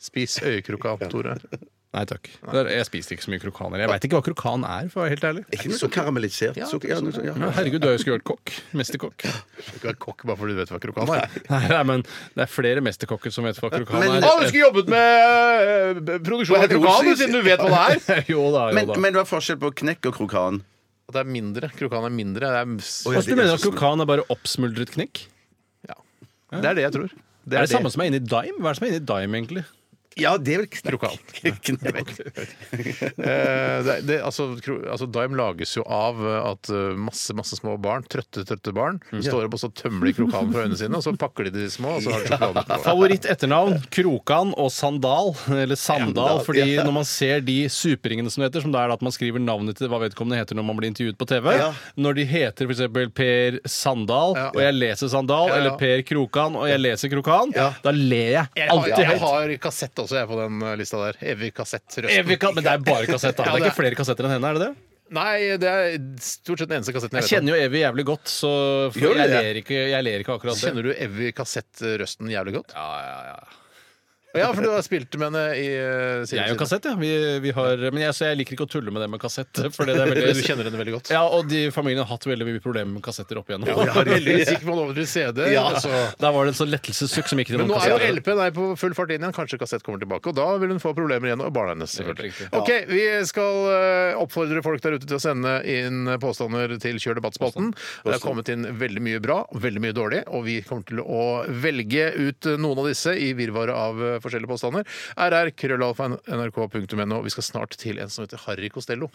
Spis øyekrokan, Tore.
Nei takk. Det er- Jeg spiser ikke så mye krokaner. Jeg veit ikke hva krokan er, for å være helt ærlig.
Ikke noe sånn karamellisert sukker. Ja, noe sånt, ja.
Men Herregud, du har jo skulle vært kokk. Mesterkokk.
Du er ikke kokk bare fordi du vet hva krokan er.
Nei, nei, men det er flere mesterkokker som vet hva krokan
Men-
er.
Å, du skulle jobbet med eh, produksjon av krokan, du, siden du vet hva det er!
Jo da, jo
Men,
da.
men det var forskjell på knekk og krokan.
At det er mindre. Krokan er mindre. Det er, s-
Å, ja.
Altså, du mener at krokan er bare oppsmuldret knekk?
ja. det er det jeg tror.
Det er, det samme som er inni dime? Hva er det som er inni dime, egentlig?
Ja, det er vel knekk.
Krokan.
knekk.
Eh, det, det, altså, kro, altså, Dime lages jo av eh, at eh, masse masse små barn, trøtte trøtte barn, står opp og så tømmer de krokanen fra øynene sine, og så pakker de de små, og så har de sjokolade på.
Favoritt-etternavn Krokan og Sandal, eller Sandal, fordi når man ser de superingene som det heter, som det er at man skriver navnet til hva vedkommende heter når man blir intervjuet på TV,
Ja.
når de heter f.eks. Per Sandal,
Ja.
og jeg leser Sandal,
Ja, ja.
eller Per Krokan, og jeg leser Krokan,
Ja.
da ler jeg
Jeg har,
alltid
jeg
høyt.
har kassett også, jeg, på den eh, lista der. Evig kassett.
Evig ka- Men det er bare kassett, da.
Ja,
Det er
det
ikke flere kassetter enn henne, er det det?
Nei, det er stort sett den eneste kassetten jeg, vet
Jeg
om.
kjenner jo Evy jævlig godt, så
Gjør
for
du
jeg
det?
ler ikke, jeg ler ikke akkurat det.
Kjenner du Evy Kassett-røsten jævlig godt?
Ja, ja, ja.
Ja, for du har spilt med henne i eh, siden
Jeg er jo
siden.
kassett, ja. Vi, vi har, men jeg, så jeg liker ikke å tulle med det med kassett. For det er
Du
veldig,
kjenner henne veldig godt.
ja, og de familiene har hatt veldig mye problemer med kassetter opp igjennom.
Heldigvis gikk man over til CD. Så.
Der var det en sånn lettelsessukk som gikk til
Men
noen
nå er jo
kassetter.
LP nei, på full fart inn igjen. Kanskje kassett kommer tilbake. Og da vil hun få problemer igjen. Og barna hennes, selvfølgelig.
Det er helt
Ok, vi skal eh, oppfordre folk der ute til å sende inn påstander til Kjør debattspalten. Det er kommet inn veldig mye bra, og veldig mye dårlig, og vi kommer til å velge ut eh, noen av disse i virvaret av eh, forskjellige påstander. RR, krøllalfa, nrk.no. Vi skal snart til en som heter Harry Costello.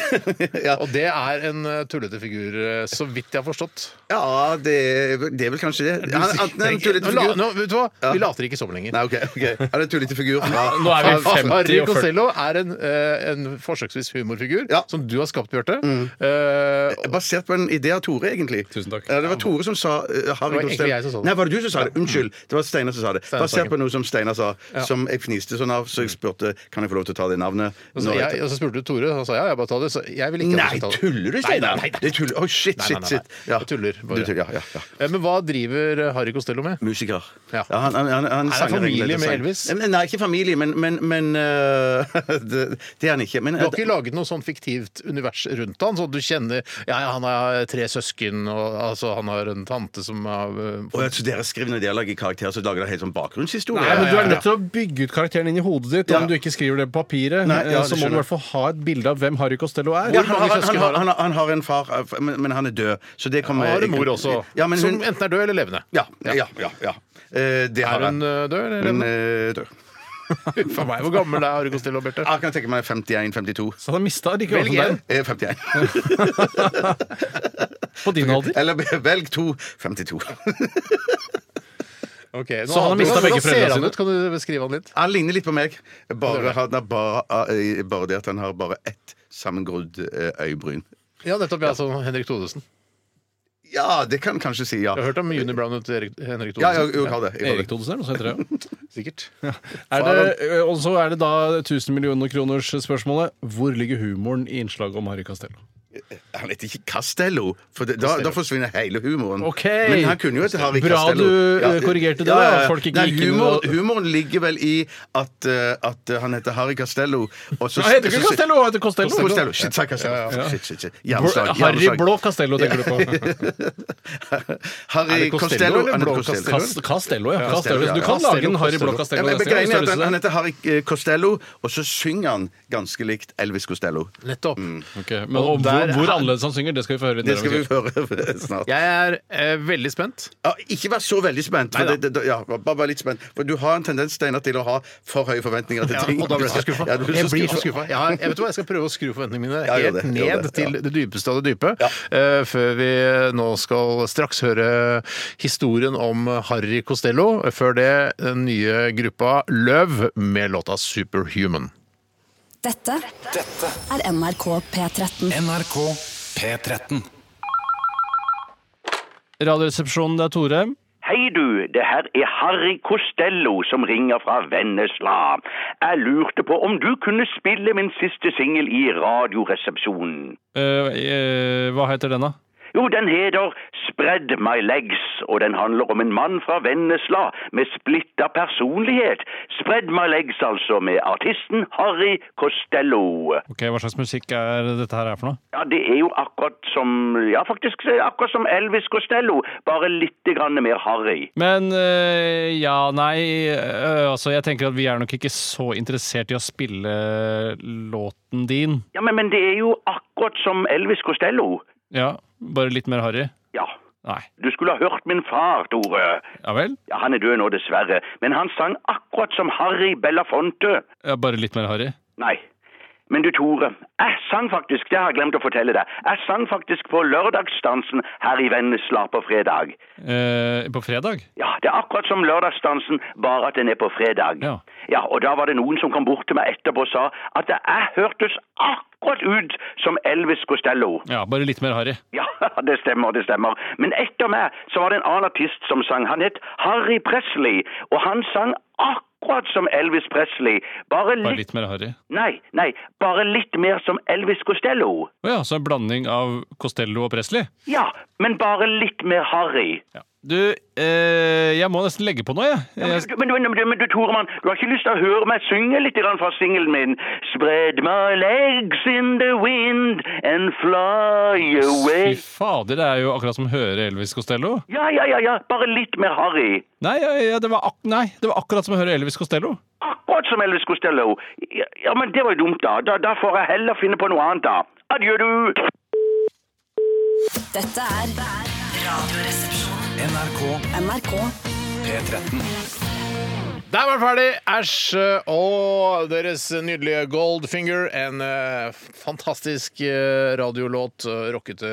Og det er en eh, tullete figur, eh, så vidt jeg har forstått.
Ja, det er, vel- det er vel kanskje det. Han, enten en tullete
Nå la-
figur
nå, vet du hva?
Ja.
Vi later ikke som lenger.
Nei, OK. ok. Han er en tullete figur fra
Nå er vi
fra-
fem. 50 og
Harry
40.
Costello er en, eh, en forsøksvis humorfigur
Ja.
som du har skapt, Bjarte. Eh,
Basert på en idé av Tore, egentlig.
Tusen takk.
Ja, det var Tore som sa
Det
eh, Harry
var egentlig
Costello.
jeg som sa det.
Nei, var det du som sa det? Unnskyld. Det var Steinar som sa det.
Steinar
Basert
Sagen.
på noe som Steinar sa, som jeg fniste sånn av, så jeg spurte kan jeg få lov til å ta det navnet.
og, så
Nå
jeg, og så spurte du Tore, og han sa ja, jeg bare tar det. Så jeg vil ikke ha
Nei,
det, så jeg tar det.
tuller du, Steinar?
Nei, nei, nei.
Det er tull- Å, shit,
Nei, nei,
shit,
nei,
shit.
nei. Jeg tuller bare.
Du tuller, ja, ja, ja.
Eh, Men hva driver eh, Harry Costello med?
Musiker.
Ja.
han, han, han, han
det
sanger
familie
egentlig,
med
sang.
Elvis?
Nei, Nei, ikke familie, men, men, men øh, det, det er han ikke. Men, eh,
Du har ikke laget noe sånn fiktivt univers rundt han, så du kjenner ja, ja, han har tre søsken, og altså, han har en tante som har eh,
Å, ja, så dere skriver når dere lager karakterer, så lager dere helt sånn bakgrunnshistorie?
Nei, men Du
Ja,
er
ja, ja.
nødt til å bygge ut karakteren inn i hodet ditt.
Ja.
Om du ikke skriver det på papiret,
Nei,
eh,
ja, det
så må du i
skjønner
hvert fall ha et bilde av hvem Harry Costello er.
ja,
Hvor
han,
mange
han,
søsken
han,
har
han, han har en far, eh, men, men han er død. Så det kommer
Har
jeg-
en mor også,
Ja, men hun,
som enten er død eller levende.
ja, ja, ja, ja. Eh, Det har
Er hun
han.
eh, død eller
Hun
levende?
er død.
Uff a meg, hvor gammel er Harry Costello, Bjarte?
Jeg kan tenke meg 51-52.
Så han har mista likevel
Velg
som
en.
deg.
Eh, 51.
På din alder.
Eller velg to. 52.
Okay, nå-
Så han har mistet
Hvordan-
begge
hvordan ser
foreldrene
han
sine?
ut? Kan du beskrive han litt?
Han ligner litt på meg. Bare, han har bare, eh, bare det at han har bare ett sammengrodd eh, øyebryn.
Ja, nettopp. Ja, som Henrik Thodesen.
Ja, det kan kanskje si, ja.
Jeg har hørt sånn om Unibrown ut til Erik- Henrik
Ja, jeg,
Thodesen.
jeg har det. Jeg har
Erik
det.
Thodesen er noe som heter det.
Sikkert.
Er det, ø, og så er det da 1000 millioner kroners spørsmålet. Hvor ligger humoren i innslaget om Harry Castello?
Han heter ikke Castello, for det, da, da forsvinner hele humoren.
Ok.
Men han kunne jo hete Harry
Bra
Castello.
du, eh, korrigerte det, da. Folk ikke
Nei,
gikk inn
humor,
og-
Humoren ligger vel i at, eh, at eh, han heter Harry Castello. og så-
Han heter ikke
så-
Castello, han heter Costello.
Costello. Shit, sa jeg Castello. Shit, shit, shit. Hjerneslag,
Harry
hjerneslag.
Blå Castello tenker du på.
Er
Harry
det Costello
Costello
eller
han heter
Blå
Costello?
Castello?
Cas- Castello, ja. Castello.
Castello,
Du
ja.
kan lage en
Castello,
Harry Blå
Costello.
Castello.
Ja, men jeg
neste gang,
begreier at han,
størrelse.
han heter Harry eh, Costello, og så synger han ganske likt Elvis Costello.
Nettopp.
Mm.
Ok, Men og hvor,
der-
hvor annerledes han synger, det skal vi få høre. litt
Det
mer
skal vi
om.
høre snart.
Jeg er eh, veldig spent.
Ja, ikke vær så veldig spent. For det, det, ja, bare vær litt spent. For du har en tendens, Steinar, til å ha for høye forventninger til ting.
og da ble jeg så skuffa.
Ja, du ble
jeg
så
blir så
skuffet.
skuffa. Jeg, har- jeg vet hva, jeg skal prøve å skru forventningene mine
Ja, gjør
helt
det, gjør
ned
det, ja.
til det dypeste av det dype
Ja.
eh, før vi nå og skal straks høre historien om Harry Costello. Før det den nye gruppa Løv med låta 'Superhuman'.
Dette
Dette
er NRK P13.
NRK P13.
Radioresepsjonen, det er Tore.
Hei du, det her er Harry Costello som ringer fra Vennesla. Jeg lurte på om du kunne spille min siste singel i Radioresepsjonen.
Eh, eh, hva heter den, da?
Jo, den heter Spread my legs, og den handler om en mann fra Vennesla med splitta personlighet. Spread my legs, altså, med artisten Harry Costello.
Ok, Hva slags musikk er dette her er for noe?
Ja, det er jo akkurat som Ja, faktisk det er akkurat som Elvis Costello, bare litt grann mer harry.
Men eh, ja, nei eh, Altså, jeg tenker at vi er nok ikke så interessert i å spille låten din.
Ja, men, men det er jo akkurat som Elvis Costello.
Ja, bare litt mer harry?
Ja.
Nei.
Du skulle ha hørt min far, Tore.
Ja vel?
Ja, han er død nå, dessverre. Men han sang akkurat som Harry Belafonte.
Ja, bare litt mer harry?
Nei. Men du, Tore. Jeg sang faktisk, det har jeg glemt å fortelle deg, jeg sang faktisk på lørdagsdansen her i Vennesla på fredag.
Eh, på fredag?
Ja, det er akkurat som lørdagsdansen, bare at den er på fredag.
Ja.
ja, og da var det noen som kom bort til meg etterpå og sa at jeg hørtes akkurat ut som Elvis Costello.
Ja, bare litt mer harry.
Ja, det stemmer, det stemmer. Men etter meg så var det en annen artist som sang. Han het Harry Presley, og han sang akkurat som Elvis Presley. Bare
Bare
litt
litt mer harry.
Nei, nei, bare litt mer som Elvis Costello.
Å ja, så en blanding av Costello og Presley?
Ja, men bare litt mer Harry.
Ja. Du, eh, jeg må nesten legge på nå, jeg.
Men,
jeg
du- men, men, men, men du, Toremann, du har ikke lyst til å høre meg synge litt grann fra singelen min? Spread my legs in the wind and fly
Fy
away.
fader, det er jo akkurat som å høre Elvis Costello.
Ja, ja, ja, ja, bare litt mer Harry.
Nei, ja, ja, det, var ak nei det var akkurat som å høre Elvis Costello.
Akkurat som Elvis Costello. Ja, Ja, men det var jo dumt, da. Da, da får jeg heller finne på noe annet, da. Adjø, du.
Dette er Radioresepsjonen.
NRK
NRK
P13.
Der var den ferdig! Æsj! Og deres nydelige Goldfinger. En eh, fantastisk eh, radiolåt. eh, Rockete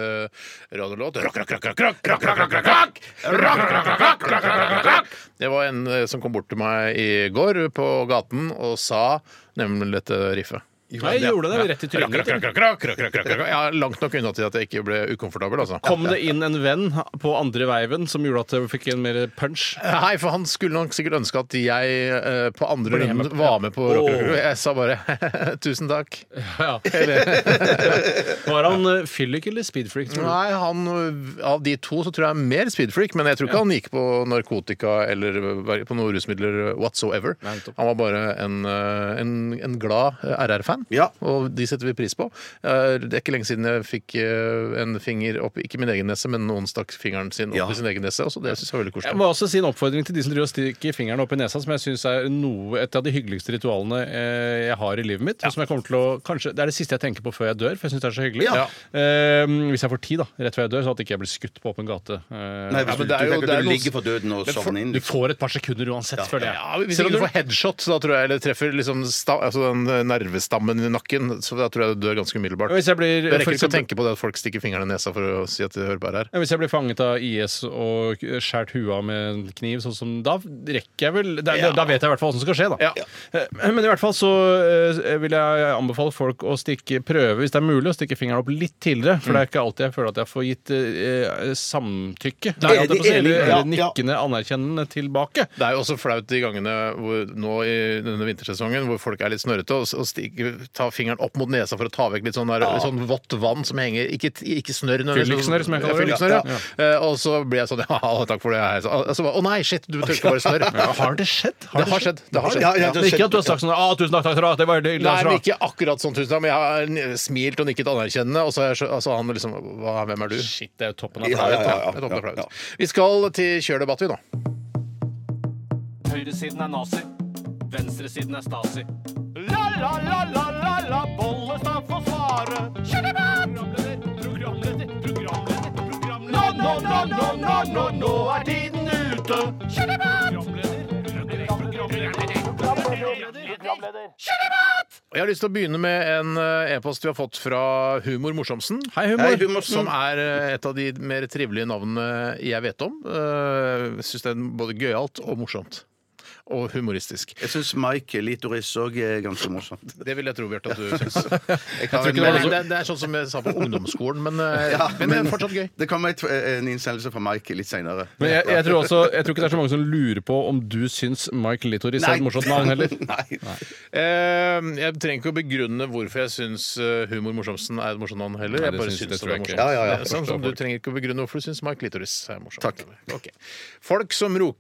radiolåt. Rock, rock, rock, rock, rock, rock, rock, rock, rock, rock! Rock, rock, rock, rock, rock, rock, rock, rock! Det var en eh, som kom bort til meg i går på gaten og sa nemlig dette riffet.
Nei, jeg gjorde det rett i
Rock, rock, rock,
trynet.
rock, rock, rock, rock, rock, rock. Ja, langt nok unna til at jeg ikke ble ukomfortabel, altså.
Kom det inn en venn på andre veiven som gjorde at jeg fikk en mer punch?
Nei, for han skulle nok sikkert ønske at jeg eh, på andre
Ble med
runden
på-
var med på Rock
Åh.
Rock Rock. Jeg sa bare tusen takk.
Ja. Var han eh, fyllik eller speedfreak? tror du?
Nei, han, av de to så tror jeg han er mer speedfreak, men jeg tror ikke han gikk på narkotika eller var- på noen rusmidler whatsoever.
Nei, nettopp.
han var bare en, eh, en, en glad eh, RR-fan,
Ja.
og de setter vi pris på. Eh, Det er ikke lenge siden jeg fikk eh, en finger opp, ikke min egen nese, men noen stakk fingeren sin opp
Ja.
i sin egen nese, og så det synes jeg var veldig
Jeg
koselig.
må også si en oppfordring til de som driver og stikker fingeren opp i nesa, som jeg syns er noe, et av de hyggeligste ritualene eh, jeg har i livet mitt. og Som jeg kommer til å, kanskje, det er det siste jeg tenker på før jeg dør, for jeg syns det er så hyggelig.
Ja.
Eh, hvis jeg får tid, da, rett før jeg dør, så at ikke jeg blir skutt på åpen gate. Eh,
Nei,
Ja,
hvis
men
du,
det er
du
jo-
tenker
det er
at du
noe-
ligger for døden og
Men for-
sovner inn.
du får et par sekunder uansett, føler jeg.
Ja, Hvis
Selv
ikke
om
du
du-
får headshot, så da tror jeg, eller treffer liksom sta, altså den nervestammen i nakken, så da tror jeg du dør ganske umiddelbart.
Hvis jeg blir,
Jeg
for
rekker ikke å
eksempel-
tenke på det at folk stikker fingrene i nesa for å si at de hører på her.
Ja, Hvis jeg blir fanget av IS og skåret huet av med en kniv, sånn som da rekker jeg vel Da, da vet jeg i hvert fall hva som skal skje, da.
Ja.
Eh, Men i hvert fall så eh, vil jeg anbefale folk å stikke prøve, hvis det er mulig, å stikke fingeren opp litt tidligere. For det er ikke alltid jeg føler at jeg får gitt eh, samtykke.
Nei,
Eller-
det er enig,
eller
ja, ja.
nikkende, anerkjennende tilbake.
Det er jo også flaut de gangene hvor, nå i denne vintersesongen hvor folk er litt snørrete og, s- og stikker, tar fingeren opp mot nesa for å ta vekk litt sånn, der, sånn vått vann som henger Ikke, ikke snørr. når det-
Fylliksnørr, som jeg kaller det.
Ja, fylliksnørr, ja. Eh, Og så blir jeg sånn Ja, takk for det. jeg- Og så bare, Å nei, shit, du tørker bare snørr.
Har det skjedd?
Det har skjedd. Det har skjedd.
Ja, ja,
Men ikke at du har sagt sånn «Ah, 'Tusen takk, takk, takk, det var
Nei,
veldig
men
hyggelig'.
ikke akkurat sånn, tusen takk. Men jeg har n- smilt og nikket anerkjennende, og så har jeg skjø- altså, han liksom hva, Hvem er du?
Shit, det er jo toppen av
Ja, ja, ja,
Det er
ja,
åpnet
ja,
flaut. Vi skal til kjørdebatt, vi, da.
Høyresiden er nazi. Venstresiden er stasi.
Og Jeg har lyst til å begynne med en eh, e-post vi har fått fra Humor Morsomsen.
Hei, Humor. Hei,
Humorsen.
Som er eh, et av de mer trivelige navnene jeg vet om. Eh, Jeg syns det er både gøyalt og morsomt. Og humoristisk.
Jeg syns Mike Litoris òg er ganske morsomt.
Det vil jeg tro, Bjarte, at du syns. Jeg
kan-
tror ikke det, var noe- det, det er sånn som jeg sa på ungdomsskolen, men, eh, men det er fortsatt gøy.
Det kommer et, eh, en innsendelse fra Mike litt seinere.
Men jeg, jeg, tror også, jeg tror ikke det er så mange som lurer på om du syns Mike Littoris er et morsomt navn heller.
Nei.
Eh, jeg trenger ikke å begrunne hvorfor jeg syns eh, Humor Morsomsen er et morsomt navn heller.
Nei,
Jeg
det
bare
syns-
syns
det
det,
tror
var
jeg ikke.
morsomt.
Ja, ja, ja.
Det er Sånn som du trenger ikke å begrunne hvorfor du syns Mike Littoris er morsomt. Takk. Folk som ro-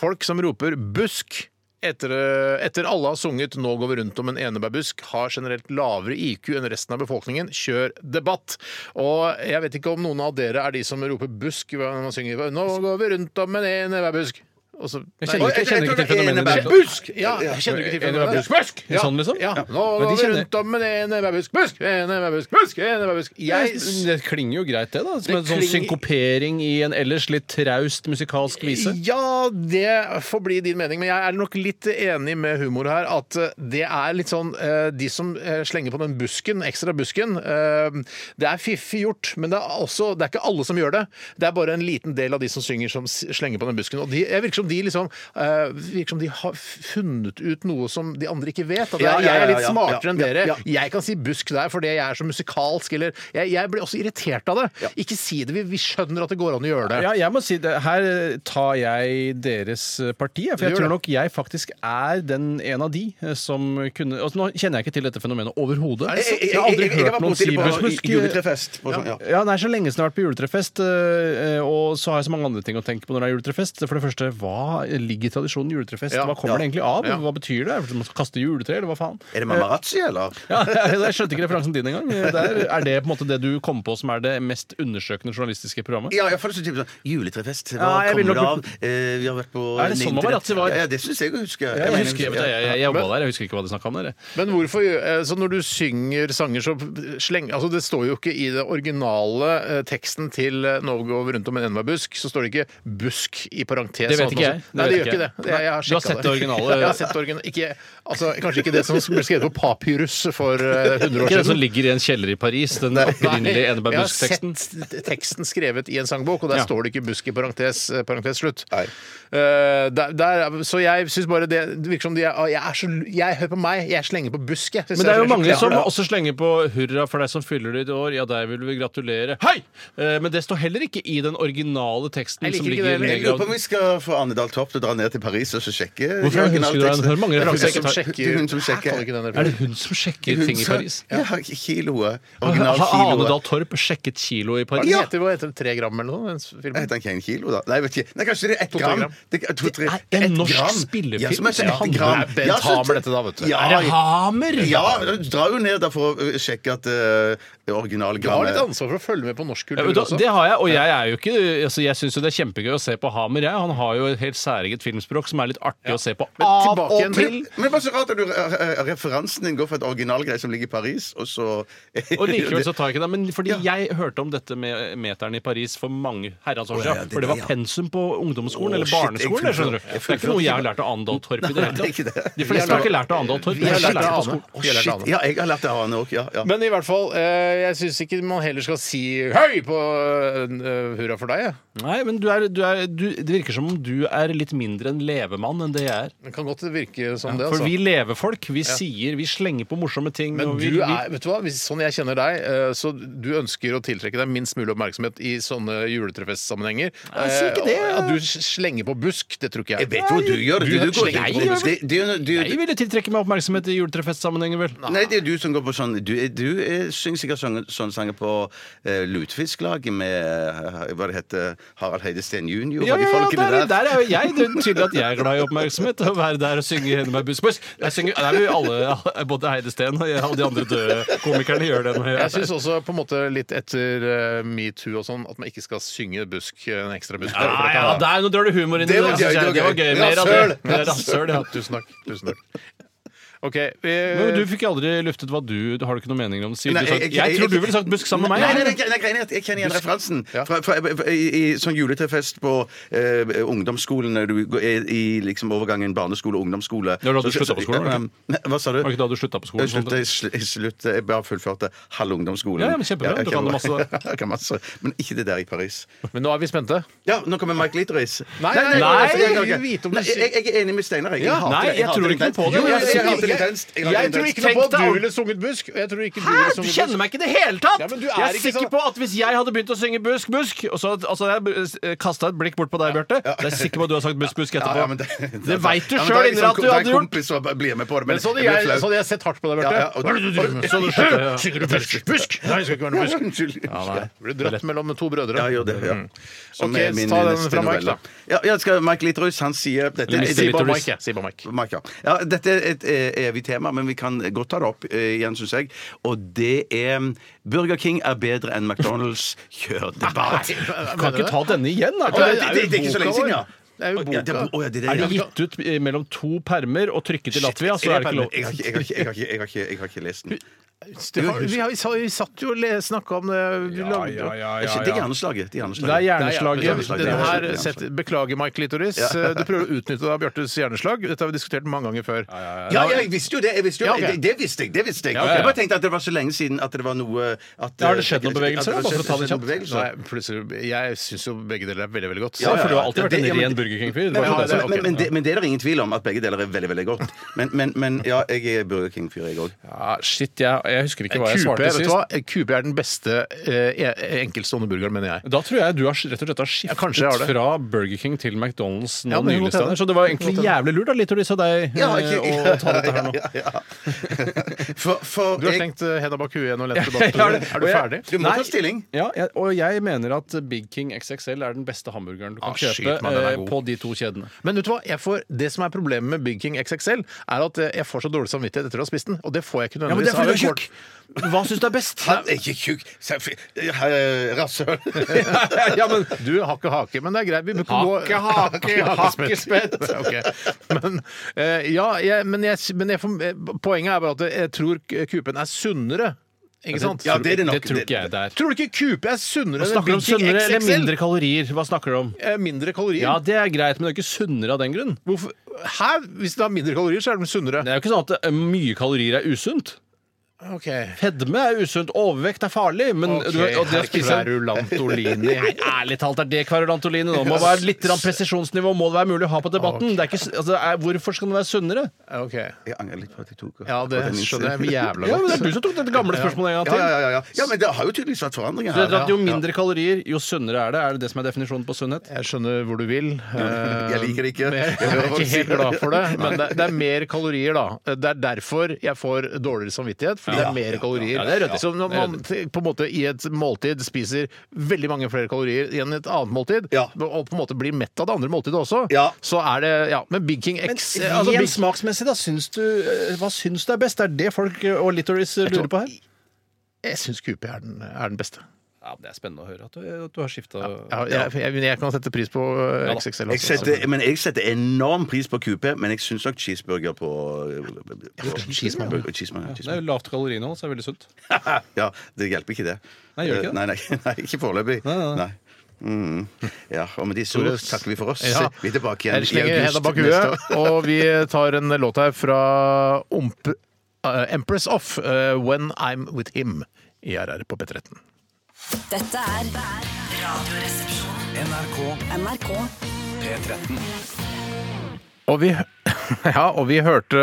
Folk som roper 'busk' etter, eh, etter alle har sunget 'Nå går vi rundt om en enebærbusk', har generelt lavere IQ enn resten av befolkningen. Kjør debatt! Og jeg vet ikke om noen av dere er de som roper 'busk' når man synger 'Nå går vi rundt om en enebærbusk'. Og så-
Jeg
Nei.
kjenner ikke, jeg kjenner ikke til fenomenet. i det hele tatt.
Busk! Ja, jeg kjenner ikke til
En
fenomenet.
bærbusk, busk!
Ja,
Sånn, liksom?
Ja. Nå
Men de
går vi
kjenner-
rundt om en enebærbusk, busk, enebærbusk, busk, enebærbusk. Jeg
Jeg, det klinger jo greit, det. da Som en
Det
sånn
klinger-
synkopering i en ellers litt traust musikalsk vise.
Ja, det får bli din mening, men jeg er nok litt enig med humor her. At eh, det er litt sånn eh, De som eh, slenger på den busken, ekstra busken eh, Det er fiffig gjort, men det er, også, det er ikke alle som gjør det. Det er bare en liten del av de som synger, som s- slenger på den busken. Og de, jeg virker som de liksom eh, virker som de har funnet ut noe som de andre ikke vet. At det
Ja,
er,
ja,
jeg er
ja,
litt
ja,
smartere
ja,
enn
ja,
dere.
ja.
Jeg kan si busk der fordi jeg er så musikalsk, eller Jeg, jeg blir også irritert av det. Ikke si det, vi, vi skjønner at det går an å gjøre det.
Ja, jeg må si det. Her eh, tar jeg deres eh, parti. jeg,
Du
For jeg
gjør
tror nok jeg faktisk er den en av de eh, som kunne altså, Nå kjenner jeg ikke til dette fenomenet overhodet.
det sant?
Jeg har aldri hørt noen si
på
busk, busk.
juletrefest. På sånn, ja.
Ja, det er så lenge siden jeg har vært på juletrefest, eh, eh, og så har jeg så mange andre ting å tenke på når det er juletrefest. For det første, hva ligger i tradisjonen juletrefest?
Ja.
Hva kommer det egentlig av?
Ja.
Hva betyr det? Er det man skal kaste juletre, eller hva faen?
Er det Mamarazzi, eller?
Ja, jeg skjønte ikke referansen din engang. Eh, Der, er det på en måte det du kom på som er det mest undersøkende journalistiske programmet?
Ja, iallfall sånn type sånn juletrefest. Hva
Ja, jeg vil
kommer det
nok-
av? Eh, vi har vært på
Er det sånn Mamarazzi var?
Ja, ja, det syns jeg å huske.
Jeg husker, jeg,
mener-
jeg, jeg, jeg jobba der, jeg husker ikke hva de snakka om. Dere.
Men hvorfor, gjør- eh, så når du synger sanger, så sleng... Altså, det står jo ikke i det originale eh, teksten til eh, 'Nå går vi rundt om en enebærbusk', så står det ikke 'busk' i parentes.
Det vet
sånn at
ikke
man-
jeg. Det
Nei,
vet
det gjør
ikke
ikke det.
jeg.
det jeg, jeg har
Du har
sjekket
sett det originale-
Ja, jeg har sett det originale. Ikke, altså, kanskje ikke det som ble skrevet på papyrus for eh, 100 år
Ikke den som
siden.
ligger i en kjeller i Paris, den
Nei,
opprinnelige
jeg har
enebærbuskteksten.
sett teksten skrevet i en sangbok, og der
Ja.
står det ikke 'busk' i parentes, eh, parentes slutt. Eh, der, der, så jeg syns bare det, det virker som de er, jeg er så Jeg hører på meg, jeg slenger på 'busk', jeg.
Men det er jo mange som
Ja.
også slenger på 'hurra for deg som fyller ditt år', ja, deg vil vi gratulere. Hei! Eh, Men det står heller ikke i den originale teksten
Jeg liker
som
ikke
ligger
det heller.
Jeg lurer på om
nedgravd.
vi skal få Anne Dahl Torp til å dra ned til Paris og så sjekke
Hvorfor er det hun
originalteksten.
skulle dra ned? Hun har mange
Det er hun
referanser.
som sjekker- det er Hun som sjekker
Jeg kan ikke den
Er det hun som sjekker
Hun
ting i
sa-
Paris?
Ja, kiloet.
Har Ane Dahl
Originalkiloet.
Torp sjekket kiloet i Paris?
Den heter, hva heter den? Tre gram eller noe? Den filmen?
Heter han ikke en kilo, da? Nei, jeg vet ikke. Nei, kanskje det er ett
To-tre
gram.
gram.
Det, er to, tre,
Det er en
ett
norsk
gram.
spillefilm
Ja, som er
som
ett
handler-
gram.
Det er Bent
Ja, så-
Hamer, dette da, vet du.
Ja,
Er det Hamer?
ja, dra jo ned der for å sjekke at uh,
Du har litt
originalgrammet
ansvar for å følge med på norsk
Ja,
kultur
men da,
også.
det har jeg, og jeg er jo ikke altså Jeg syns jo det er kjempegøy å se på Hamer. Jeg. Han har jo et helt særeget filmspråk som er litt artig å se på.
Men
av
tilbake
og
igjen
til.
til-
Men det er bare så rart at du, eh, referansen din går for et originalgreie som ligger i Paris, og så
Og likevel så tar jeg ikke det. Men fordi jeg hørte om dette med meteren i Paris for mange herrens år
Å, ja, ja,
siden.
det-
For det var
ja.
pensum på ungdomsskolen
Å,
eller
shit, jeg
barneskolen.
fullførte-
det skjønner du.
jeg
Det er ikke noe sånn- jeg har lært av Ane Dahl Torp i det
Nei, det er
hele
ikke
tatt.
det.
De fleste har ikke lært av Ane Dahl Torp.
Vi har
de har
lært av
lært det på
Ane.
skolen.
Å,
Vi har lært
shit.
av Ane.
Ja, jeg har lært det av Ane òg, ja. ja.
Men i hvert fall, eh, jeg syns ikke man heller skal si høy på eh, hurra for deg. jeg.
Nei, men du er, du er, du, det virker som om du er litt mindre en levemann enn det jeg er.
Det kan godt virke som det.
For
altså.
vi levefolk, vi sier, vi slenger på morsomme ting.
Men
og vi,
du
vi-
er, vet du hva, Hvis, sånn jeg kjenner deg, eh, så du ønsker å tiltrekke deg minst mulig oppmerksomhet i sånne juletrefestsammenhenger.
jeg sier ikke det.
Eh, At du slenger på busk, det tror ikke
Jeg
jeg.
vet jo hva du gjør. Du,
Du-
du går
Jeg
ikke
gjør
på
det.
det- det er jo- du-
Jeg ville tiltrekke meg oppmerksomhet i juletrefestsammenhengen, vel.
Nei, det er du som går på sånn Du, du eh, synger sikkert sånne, sånne sanger på eh, Lutfisklaget med eh, hva det heter Harald Heide Steen jr.
Ja,
og de
ja, ja,
folkene
der, der er jo jeg. Det er tydelig at jeg er glad i oppmerksomhet. Å være der og synge henne med buss, buss. Jeg synger, nei, vi alle, både Heide Steen og jeg- alle de andre døde komikerne gjør det. Når jeg,
Jeg syns også på en måte litt etter eh, metoo og sånn at man ikke skal synge busk, eh, en ekstra busk. for
ja,
det kan
ja,
være-
der, nå drar du humor inn i
Det
det.
var
Det, synes
gøy,
jeg, det var gøy. Mer av det. Mer av søl, ja.
Tusen takk. Tusen takk. OK. eh,
Men du fikk aldri luftet hva du Har du ikke noen meninger om det? Siden
Nei,
du sa-
jeg-
Jeg,
jeg-
tror du
jeg-
ville sagt busk sammen med
Nei,
meg.
nei, nei, nei, nei, nei, jeg kjenner igjen referansen.
Ja.
Fra, fra, i, I sånn juletrefest på eh, ungdomsskolen, når du går- er i liksom overgangen barneskole og
Det
ungdomsskole
var da du
Så-
sluttet på skolen, var det
Nei, Hva sa du?
Var det ikke da du slutta på skolen? sånn
Jeg sluttet, jeg sl- jeg sluttet, jeg bare fullførte halve ungdomsskolen.
Ja, ja, men kjempebra.
jeg
Du kan det masse der.
jeg kan masse. Men ikke det der i Paris.
Men nå er vi spente.
Ja, nå kommer Mike Litteris.
Nei,
nei,
jeg,
nei,
jeg,
vi vil vite om du
jeg, jeg er enig med Steinar. Jeg,
Ja,
hater
nei,
det,
jeg
hater
tror ikke noe
intenst.
på det.
Jo, jeg, jeg hater
Jeg-
det intenst. Jeg hater
jeg
det
tror
intenst.
ikke noe på
Tenk
at
deg
du
om-
ville sunget busk. og Jeg tror ikke du
Hæ?
ville
Du
sunget
kjenner
busk.
meg ikke i det hele tatt!
Ja, men du
jeg
er
er
ikke
sikker
sånn-
på at hvis jeg hadde begynt å synge busk, busk og så, altså Jeg kasta et blikk bort på deg, Bjarte. Jeg er sikker på at du har sagt busk, busk etterpå.
Ja, ja, men
Det vet du
Ja, men
selv
da er jeg
inni deg at
sånn-
du
da er jeg
hadde gjort. sånn
kompis og bare blir med på det, men
Men så hadde
jeg blir
jeg,
flau.
så hadde jeg sett hardt på deg, Bjarte.
Ja, ja, og-
Hva er det du driver med?
Så hadde du skjønt det, ja.
Synger du busk? Busk? Nei, det skal ikke være
Ja,
noe busk.
Unnskyld.
Blir dratt mellom to brødre.
Ja, jeg gjør det. Ja. Som
Mm. Ok,
er min
ta den
neste
fra Mike,
novelle.
da.
Ja, jeg skal Mike Litterus, han sier dette,
Eller
det-
Si
det-
bare Mike. jeg. Si bare Mike.
Mike, ja. ja, dette er et eh, evig tema, men vi kan godt ta det opp eh, igjen, syns jeg. Og det er Burger King er bedre enn McDonald's. Kjør debatt!
Du kan ikke ta denne igjen.
Å, det,
Er,
det,
det,
det, det er ikke så lenge siden, ja.
Det er jo
Ja, det er,
boka.
bo- å, ja, det,
er
det,
det gitt ut eh, mellom to permer og trykket i Latvia, så er det ikke lov.
Jeg har ikke- jeg har ikke- jeg har ikke- jeg har ikke- jeg har ikke lest den.
Det har- Vi, har- vi sa- vi satt jo og snakka om det. Vi lagde-
Det er hjerneslaget. Det er hjerneslaget.
Det er
Det er
hjerneslaget.
hjerneslaget. Den her setter, beklager, Mike Litoris. Du prøver å utnytte deg av Bjartes hjerneslag. Dette har vi diskutert mange ganger før.
Ja, ja, jeg visste jo det. Jeg visste jo,
Ja, ok.
det, det visste jeg. det visste Jeg
Ja, ja, ja.
Jeg bare tenkte at det var så lenge siden at det var noe at,
Ja, har det skjedd noen
at det
bevegelser,
var
da? Bare for å ta det
skjedd noen
kjapt.
bevegelser.
Nei, plutselig, jeg syns jo begge deler er veldig veldig godt.
Ja, for du har
Ja,
alltid vært
det-
en
ja, men-
ren Burger King-fyr. Det var
Men,
ikke det jeg
men,
sa.
men, men, det, men det er det ingen tvil om at begge deler er veldig veldig godt. Men, men, men ja, jeg er Burger King-fyr, jeg òg.
Ja, shit, jeg, jeg husker ikke hva jeg
QP,
svarte
vet du
sist.
hva? QP er den beste eh, enkeltstående burgeren, mener jeg.
Da tror jeg du har rett og slett har skiftet
kanskje jeg har det.
fra Burger King til McDonald's nå
Ja, det kan
nylig.
godt hende.
Steinar. Så det var egentlig jævlig lurt av Litoris og deg eh, å ta dette her nå.
Ja, ja, ja. For, for
Du har
jeg,
slengt eh, henda bak huet igjen og lent
Jeg
tilbake.
har det.
Er du
Og jeg-
ferdig?
Du må
Nei.
ta stilling.
Ja, jeg, og jeg mener at Big King XXL er den beste hamburgeren du kan
Ah, skyt
kjøpe
meg, den er
eh,
god.
på de to kjedene.
Men vet du hva? Jeg får, det som er problemet med Big King XXL, er at eh, jeg får så dårlig samvittighet etter å ha spist den. Og det får jeg ikke nødvendigvis av en kort-
Hva syns du er best?
Han er ikke tjukk. Selvfølgelig. Eh, Rasshøl.
ja, men
Du har ikke hake, men det er greit. Vi bør ikke
Hake,
gå
hake, hakkespett.
Ok. Men, eh, ja, jeg, men, jeg, men jeg, får- eh, poenget er bare at jeg tror k- kupen er sunnere. Ikke sant?
Ja, det er det nok.
det tror ikke jeg det er.
Tror du ikke kupe er sunnere enn Big
Snakker du om
King
sunnere eller
XXL?
mindre kalorier? Hva snakker du om?
Eh, mindre kalorier?
Ja, det er greit, men det er ikke sunnere av den grunn.
Hvorfor? Hæ? Hvis det har mindre kalorier, så er det sunnere.
Det er jo ikke sånn at eh, mye kalorier er usunt.
Ok.
Fedme er usunt, overvekt er farlig, men
Ok,
du, og det å
her
spise
kverulantolini.
Nei, ærlig talt, er det kverulantolini nå? Må det være litt grann presisjonsnivå må det være mulig å ha på debatten. Det er ikke, s- altså, er, hvorfor skal den være sunnere?
Ok.
Jeg angrer litt på at jeg tok
Ja, det skjønner jeg jævla
Ja,
godt.
men Det er du som tok dette gamle spørsmålet en gang
Ja,
til.
ja, ja, ja. ja, men det har jo tydeligvis vært forandringer
Så det er
her.
at Jo mindre kalorier, jo sunnere er det. Er det det som er definisjonen på sunnhet?
Jeg skjønner hvor du vil. eh,
Jeg liker det ikke.
Men jeg,
Jeg
jeg er
hører hva du
ikke helt
sier.
glad for det, men det, det er mer kalorier, da. Det er derfor jeg får dårligere samvittighet, fordi det er mer kalorier.
Ja, det er ryddig.
Så når man t- på en måte i et måltid spiser veldig mange flere kalorier enn i et annet måltid,
Ja.
og på en måte blir mett av det andre måltidet også,
Ja.
så er det Ja, men Big King X eh, altså,
Rent
Big,
smaksmessig, da, syns du, eh, hva syns du er best? Er det folk eh, og Littoris eh, lurer på her?
Jeg syns QP er den, er den beste.
Ja, Det er spennende å høre at du, at du har skifta
Ja, jeg, jeg, jeg kan sette pris på eh, XXL.
Jeg
også.
setter, men jeg setter enorm pris på QP, men jeg syns nok cheeseburger på, på
cheeseburger.
på- cheeseburger,
Det er
cheeseburger.
jo lavt kaloriinnhold, så det er veldig sunt.
Ja, det hjelper ikke, det. Eh,
Nei, gjør det ikke det?
Nei, nei, nei, ikke foreløpig. Nei. Mm. Ja, og med disse ord takker vi for oss.
Ja.
Vi er tilbake igjen
Jeg slenger
i
henda
august
bak
neste år.
huet, og vi tar en låt her fra Omp eh, Empress Off, eh, 'When I'm With Him', i RR på P13.
Dette er Radioresepsjonen.
NRK
NRK
P13.
Og vi, ja, og vi hørte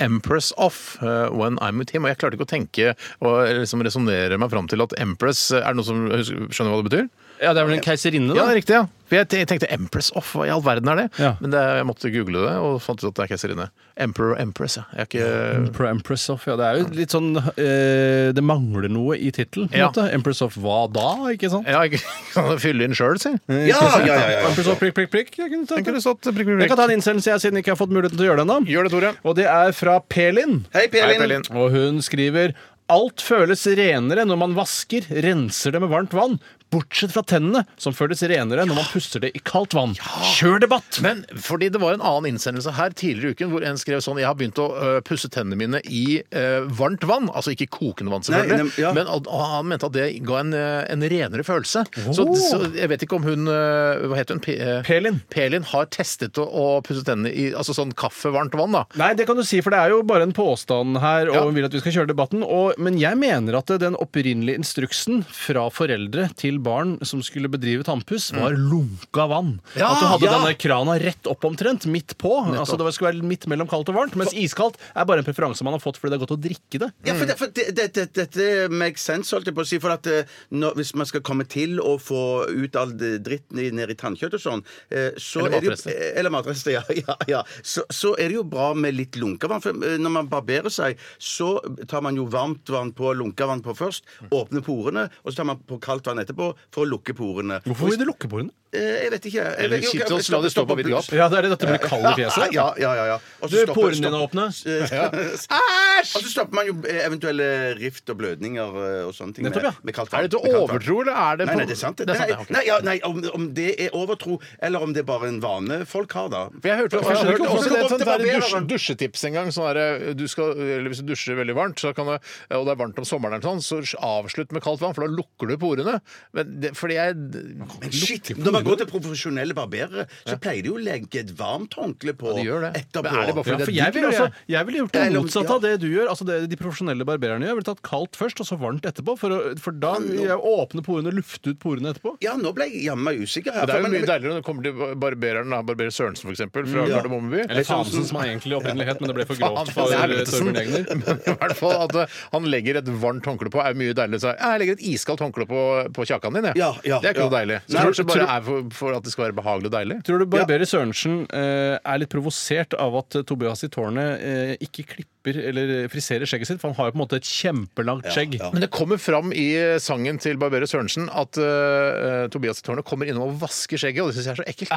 Empress Off, eh, 'When I'm With Him', og jeg klarte ikke å tenke og liksom resonnere meg fram til at Empress eh, Er det noen som husker- skjønner hva det betyr?
Ja, det er vel en keiserinne,
Ja, det
da?
er riktig, ja. For jeg te- tenkte Empress Off, hva i all verden er det?
Ja.
Men det, jeg måtte google det, og fant ut at det er keiserinne. Emperor Empress, ja. Jeg er ikke
Pro Empress of, ja, Det er jo litt sånn eh, Det mangler noe i tittelen. på en
Ja.
måte. Empress of hva da, ikke sant?
Ja, ikke kan jeg fylle inn sjøl, si.
Ja, ja, ja, ja,
Empress of prikk, prikk, prikk. Jeg, kunne
Jeg
ta,
kunne stått prikk, prikk,
jeg kan ta
prikk.
en innsendelse, jeg, siden jeg ikke har fått muligheten til å gjøre det ennå.
Gjør det, Tore.
Og det er fra Pelin.
Hei, Pelin.
Pelin.
Og hun skriver Alt føles renere når man vasker, renser det med varmt vann. Bortsett fra tennene, som føles renere når man puster det i kaldt vann. Kjør debatt!
Men fordi det var en annen innsendelse her tidligere i uken hvor en skrev sånn Jeg har begynt å ø, pusse tennene mine i ø, varmt vann. Altså ikke kokende vann, selvfølgelig.
Nei, nem- ja.
Men at- og han mente at det ga en, ø, en renere følelse. Så, så jeg vet ikke om hun ø, Hva heter hun? Pe- ø,
Pelin.
Pelin har testet å, å pusse tennene i altså sånn kaffevarmt vann, da.
Nei, det kan du si, for det er jo bare en påstand her, og
Ja.
hun vil at vi skal kjøre debatten. Og, men jeg mener at den opprinnelige instruksen fra foreldre til barn som skulle bedrive tannpuss, var lunka vann.
Ja,
at du hadde
ja.
denne krana rett opp omtrent, midt på. Altså Det skulle være midt mellom kaldt og varmt. Mens iskaldt er bare en preferanse man har fått fordi det er godt å drikke det. Mm.
Ja,
Mm.
for det- for det- det- det- Dette makes sense, holdt jeg på å si. For at eh, når, hvis man skal komme til å få ut all det dritten i- ned i tannkjøtt og sånn eh, så
Eller
er det jo-
matrester.
eh, Eller matrester. Ja. ja, ja. Så, så er det jo bra med litt lunkevann. For eh, når man barberer seg, så tar man jo varmt vann på, lunka vann på først,
Mm.
åpner porene, og så tar man på kaldt vann etterpå for å lukke porene.
Hvorfor vil du lukke porene?
Eh, Jeg vet ikke. jeg- Jeg,
Eller
jeg-
sitt
jeg- Ah,
og la det stå på vidt gap.
Ja, det er det. Dette blir kald i fjeset.
Ja, ja, ja. ja. Og
Du,
så stopper-
porene
stopper-
dine åpne.
og så stopper man jo eh, eventuelle rift og blødninger eh, og sånne ting.
Nettopp, ja.
med, med kaldt vann.
Er det
Med
til
kaldt vann.
overtro, eller er det
Nei, nei, det er sant. det.
Det er sant,
nei,
ja, ok.
nei, ja, nei om, om det er overtro, eller om det er bare en vane folk har, da.
For jeg hørte, og
jeg
jeg
skjønner
hørte
ikke
også
hvorfor
det
det
sånn der
går
dusj,
til barbereren.
dusjetips en gang. Sånn derre, du skal, eller hvis du dusjer veldig varmt, så kan det, og det er varmt om sommeren, eller sånn, så avslutt med kaldt vann, for da lukker du porene. Men det, fordi jeg
Men shit, Når man går til profesjonelle barberere, så pleier de jo å legge et varmt håndkle på
de gjør det.
etterpå.
Men er det bare fordi
Ja, for
det
jeg
digg,
ville
eller?
også- jeg ville gjort det
Eller om-
motsatte av det du gjør. altså det De profesjonelle barbererne gjør. Jeg ville tatt kaldt først, og så varmt etterpå. For, å, for da vil jeg åpne porene og lufte ut porene etterpå.
Ja, nå ble jeg jammen meg usikker her.
Det er jo
for-
mye deiligere når du kommer til barbereren, da, barberer Sørensen for eksempel, fra Gardermommeby.
Eller Fansen, som han egentlig opprinnelig het, men det ble for
Faen,
grovt for
det er sånn.
eh,
Helvetesen.
Torbjørn Egner.
Men i hvert fall at eh, han legger et varmt håndkle på, er mye deiligere. Så jeg legger et iskaldt håndkle på, på kjakan din, jeg.
Ja, ja,
det er ikke
ja.
noe deilig. Så
Nei,
kanskje det bare
tror-
er for, for at det skal være behagelig og deilig.
Tror du barberer Sørensen eh, er litt provosert av at eh, Tobias i tårnet eh, ikke klipper eller friserer skjegget sitt? For han har jo på en måte et kjempelangt skjegg.
Men det kommer fram i eh, sangen til Barberer Sørensen at eh, Tobias i tårnet kommer innom og vasker skjegget, og det syns jeg er så ekkelt.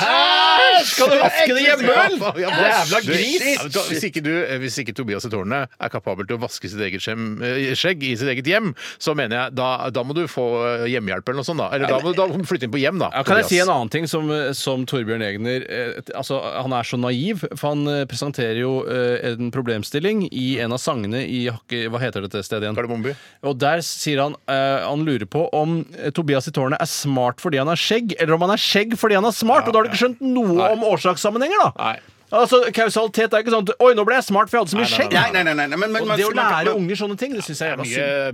Skal du vaske Ah, det hjemme, vel?
Ja, ja,
Jævla
du-
gris!
Ja, men da- Hvis ikke, du, eh, hvis ikke Tobias i tårnet er kapabel til å vaske sitt eget skjem, eh, skjegg i sitt eget hjem, så mener jeg da, da må du få eh, hjemmehjelp eller noe sånt, da. Eller da må du da må du flytte inn på hjem, da.
Ja, kan jeg
Tobias.
si en annen ting som, som Torbjørn Egner eh, altså, Han er så naiv, for han eh, presenterer jo eh, en problemstilling i en av sangene i Hakke- Hva heter dette stedet igjen?
Kardemommeby.
Og der sier han eh, han lurer på om eh, Tobias i tårnet er smart fordi han har skjegg, eller om han er skjegg fordi han har smart. og da har du ikke skjønt noe om årsakssammenhenger, da.
Nei.
Altså, Kausalitet er ikke sånn at, Oi, nå ble jeg smart, for jeg hadde så mye skjegg.
Nei, nei, nei, nei, nei, men, men,
Og
man-
det å
man- man-
lære unger sånne ting, det syns jeg er jævla
Mye,
synd.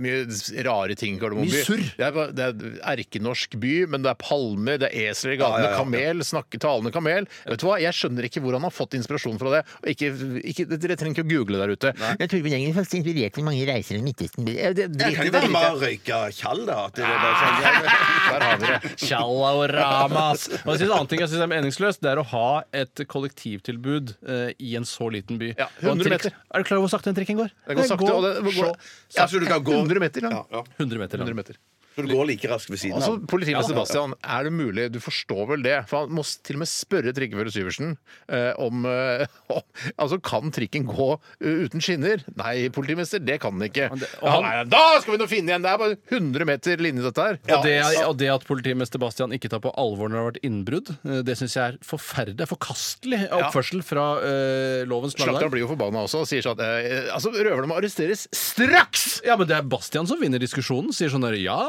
mye rare ting i Gardermoen by.
Mye surr.
Det er, bare- det er erkenorsk by, men det er palmer, det er esler i gatene, kamel, snakke talende kamel. Vet du hva, Jeg skjønner ikke hvor han har fått inspirasjon fra det. Og ikke, ikke, dere trenger ikke å google der ute.
Jeg tror vi egentlig faktisk inspirert til mange reiser i Midtøsten. Det, det, det,
Jeg kan jo være med å røyke tjall, da. At det er bare sånn,
Der har dere.
Tjalla og ramas. Og jeg synes en annen ting jeg synes er meningsløst, det er å ha et kollektivtilbud eh, i en så liten by.
Ja,
Og en
100
trikk-
meter.
Er du klar over hvor sakte den trikken går?
Det går sakte. og det, det går,
Ja, så du kan gå-
100 meter. Ja.
ja.
100 meter. lang.
100 meter.
Så du går like raskt ved siden
Altså,
av.
Politimester Sebastian, er det mulig? Du forstår vel det? For han må s- til og med spørre trikkefører Syversen eh, om, eh, om Altså, kan trikken gå eh, uten skinner? Nei, politimester, det kan den ikke.
det- og
Ja,
han-
nei, da skal vi nå finne igjen! Det er bare 100 meter linje, dette her.
Og det, og det at politimester Sebastian ikke tar på alvor når det har vært innbrudd, eh, det syns jeg er forferdelig. Det er forkastelig oppførsel fra eh, lovens
Slakteren
planer.
blir jo forbanna også og sier sånn at eh, altså, røverne må arresteres straks!
Ja, men det er Bastian som vinner diskusjonen. Sier sånn der Ja,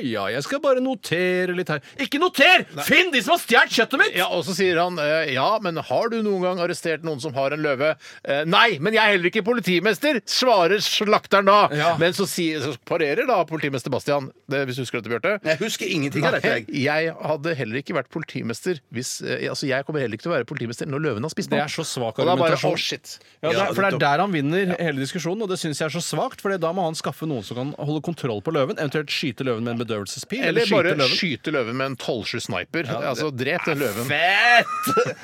ja, jeg skal bare notere litt her. Ikke noter! Finn de som har stjålet kjøttet mitt!
Ja, Og så sier han eh, ja, men har du noen gang arrestert noen som har en løve? Eh, Nei, men jeg er heller ikke politimester, svarer slakteren da.
Ja.
Men så, sier, så parerer da politimester Bastian, det, hvis du husker dette, Bjarte.
Jeg husker ingenting av dette,
Nei,
jeg.
jeg hadde heller ikke vært politimester hvis eh, Altså, jeg kommer heller ikke til å være politimester når løven har spist
Det
meg.
er så svak
Og da bare,
argumentasjon.
«Å, shit.
Ja, det
Ja,
er, for det er
nettopp.
der han vinner hele diskusjonen, og det syns jeg er så svakt. For da må han skaffe noen som kan holde kontroll på løven, eventuelt skyte løven med en bedøvelsespil.
Eller bare
skyte løven.
skyte løven med en 12-7 sniper. altså, drep den løven.
Fett!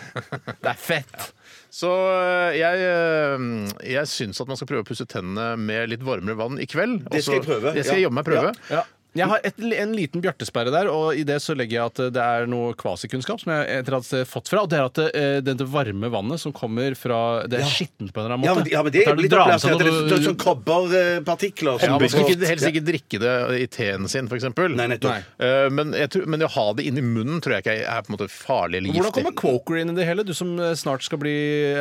Det er fett!
Så øh, jeg, øh, jeg syns at man skal prøve å pusse tennene med litt varmere vann i kveld.
Det skal jeg prøve,
Det skal jeg
ja.
jammen meg prøve.
Ja. Jeg har et, en liten bjartesperre der, og i det så legger jeg at eh, det er noe kvasikunnskap som jeg etter alt har fått fra, og det er at eh, det, det varme vannet som kommer fra Det er skittent på en eller annen
Ja,
måte.
men, ja, men det
At
er jo
du
litt
drar med
opplevd
seg
at det er
noe-
det er sånn kobberpartikler.
Ja,
som-
man skal ikke, helst ikke drikke det i teen sin, f.eks.
Nei, nettopp.
Eh, Men, jeg tror- men å ha det inni munnen tror jeg ikke er på en måte farlig eller
Hvordan
giftig.
kommer Quoker inn i det hele? Du som eh, snart skal bli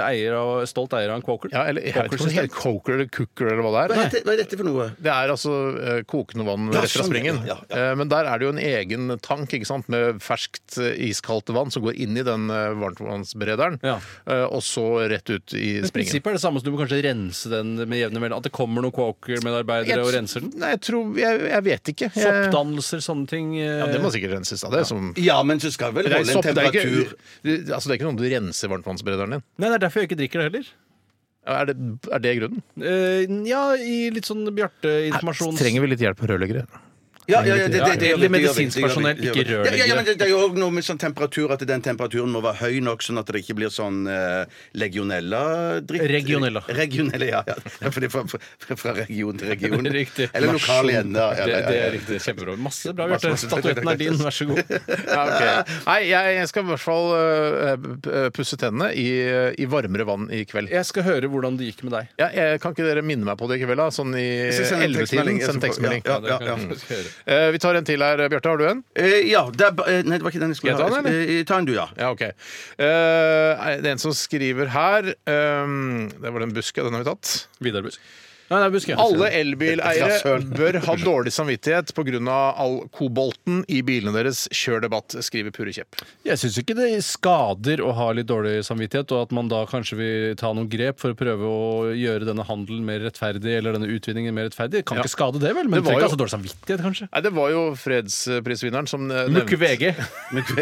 eier av, stolt eier av en Quoker.
ja, eller, jeg vet ikke om det heter coker eller cooker eller hva det
Hva
er.
er dette- hva er dette for noe?
Det er altså eh, kokende vann
Ja,
rett fra
sånn,
springen.
ja, ja,
Eh, Men der er det jo en egen tank ikke sant? med ferskt, eh, iskaldt vann som går inn i den eh, varmtvannsberederen,
Ja.
eh, og så rett ut i
Men
springen.
prinsippet er det samme som du må kanskje rense den med jevne mellom At det kommer noen Quoker-medarbeidere og renser den?
Nei, jeg tror Jeg, jeg vet ikke. Jeg-
Soppdannelser, sånne ting. eh,
Ja, det må sikkert renses. Da. Det er som
Ja, men så skal vel
det er,
holde en
sopp, det, er ikke,
temperatur
det- altså, det er ikke noe du renser varmtvannsberederen din.
Nei, det er derfor jeg ikke drikker det heller.
Er det, er det grunnen?
Eh, ja, i litt sånn Bjarte-informasjon.
Trenger vi litt hjelp av rørleggere?
Ja, ja, ja, det, det,
Ja,
det, det,
eller
det- det-
medisinsk
det- det-
personell, ikke
det- det-
rørleggere.
Ja, ja, men det, det er jo òg noe med sånn temperatur at den temperaturen må være høy nok, sånn at det ikke blir sånn eh, legionella-dritt.
Regionella.
Regionella, ja. ja. ja for det er fra, fra, fra region til region.
Det er riktig.
Eller lokal igjen, da. Ja,
det,
ja, ja,
det
ja.
er riktig. Kjempebra. Masse bra,
Masse,
Bjarte.
masse-
Statuetten er din, vær så god.
Ja, ok. Nei, jeg, jeg skal i hvert fall øh, øh, pusse tennene i, eh, i varmere vann i kveld.
Jeg skal høre hvordan det gikk med deg.
Ja, jeg, kan ikke dere minne meg på det i kveld, da? Sånn i
skal sende en
11-tiden?
tekstmelding, jeg
Send
skal få-
tekstmelding.
Ja, ja,
det
ja.
kan jeg faktisk høre.
Eh, vi tar en til her, Bjarte. Har du en?
Eh, ja det er, ba- eh, nei, det var ikke den jeg skulle
Skal jeg ta den,
Eh, ta den, du, ja.
Ja, OK. Eh, det er en som skriver her ehm, Det var den buska, den har vi tatt.
Vidar Busk. Nei, nei, Busk. ja.
Alle elbileiere bør ha dårlig samvittighet pga. all kobolten i bilene deres. Kjør debatt, skriver Purre Kjepp.
Jeg syns ikke det skader å ha litt dårlig samvittighet, og at man da kanskje vil ta noen grep for å prøve å gjøre denne handelen mer rettferdig, eller denne utvinningen mer rettferdig. Kan ikke skade det, vel?
Det
Men det
var
trenger
jo-
ikke altså dårlig samvittighet, kanskje.
Nei, Det var jo fredsprisvinneren som eh,
Mukke
nevnte-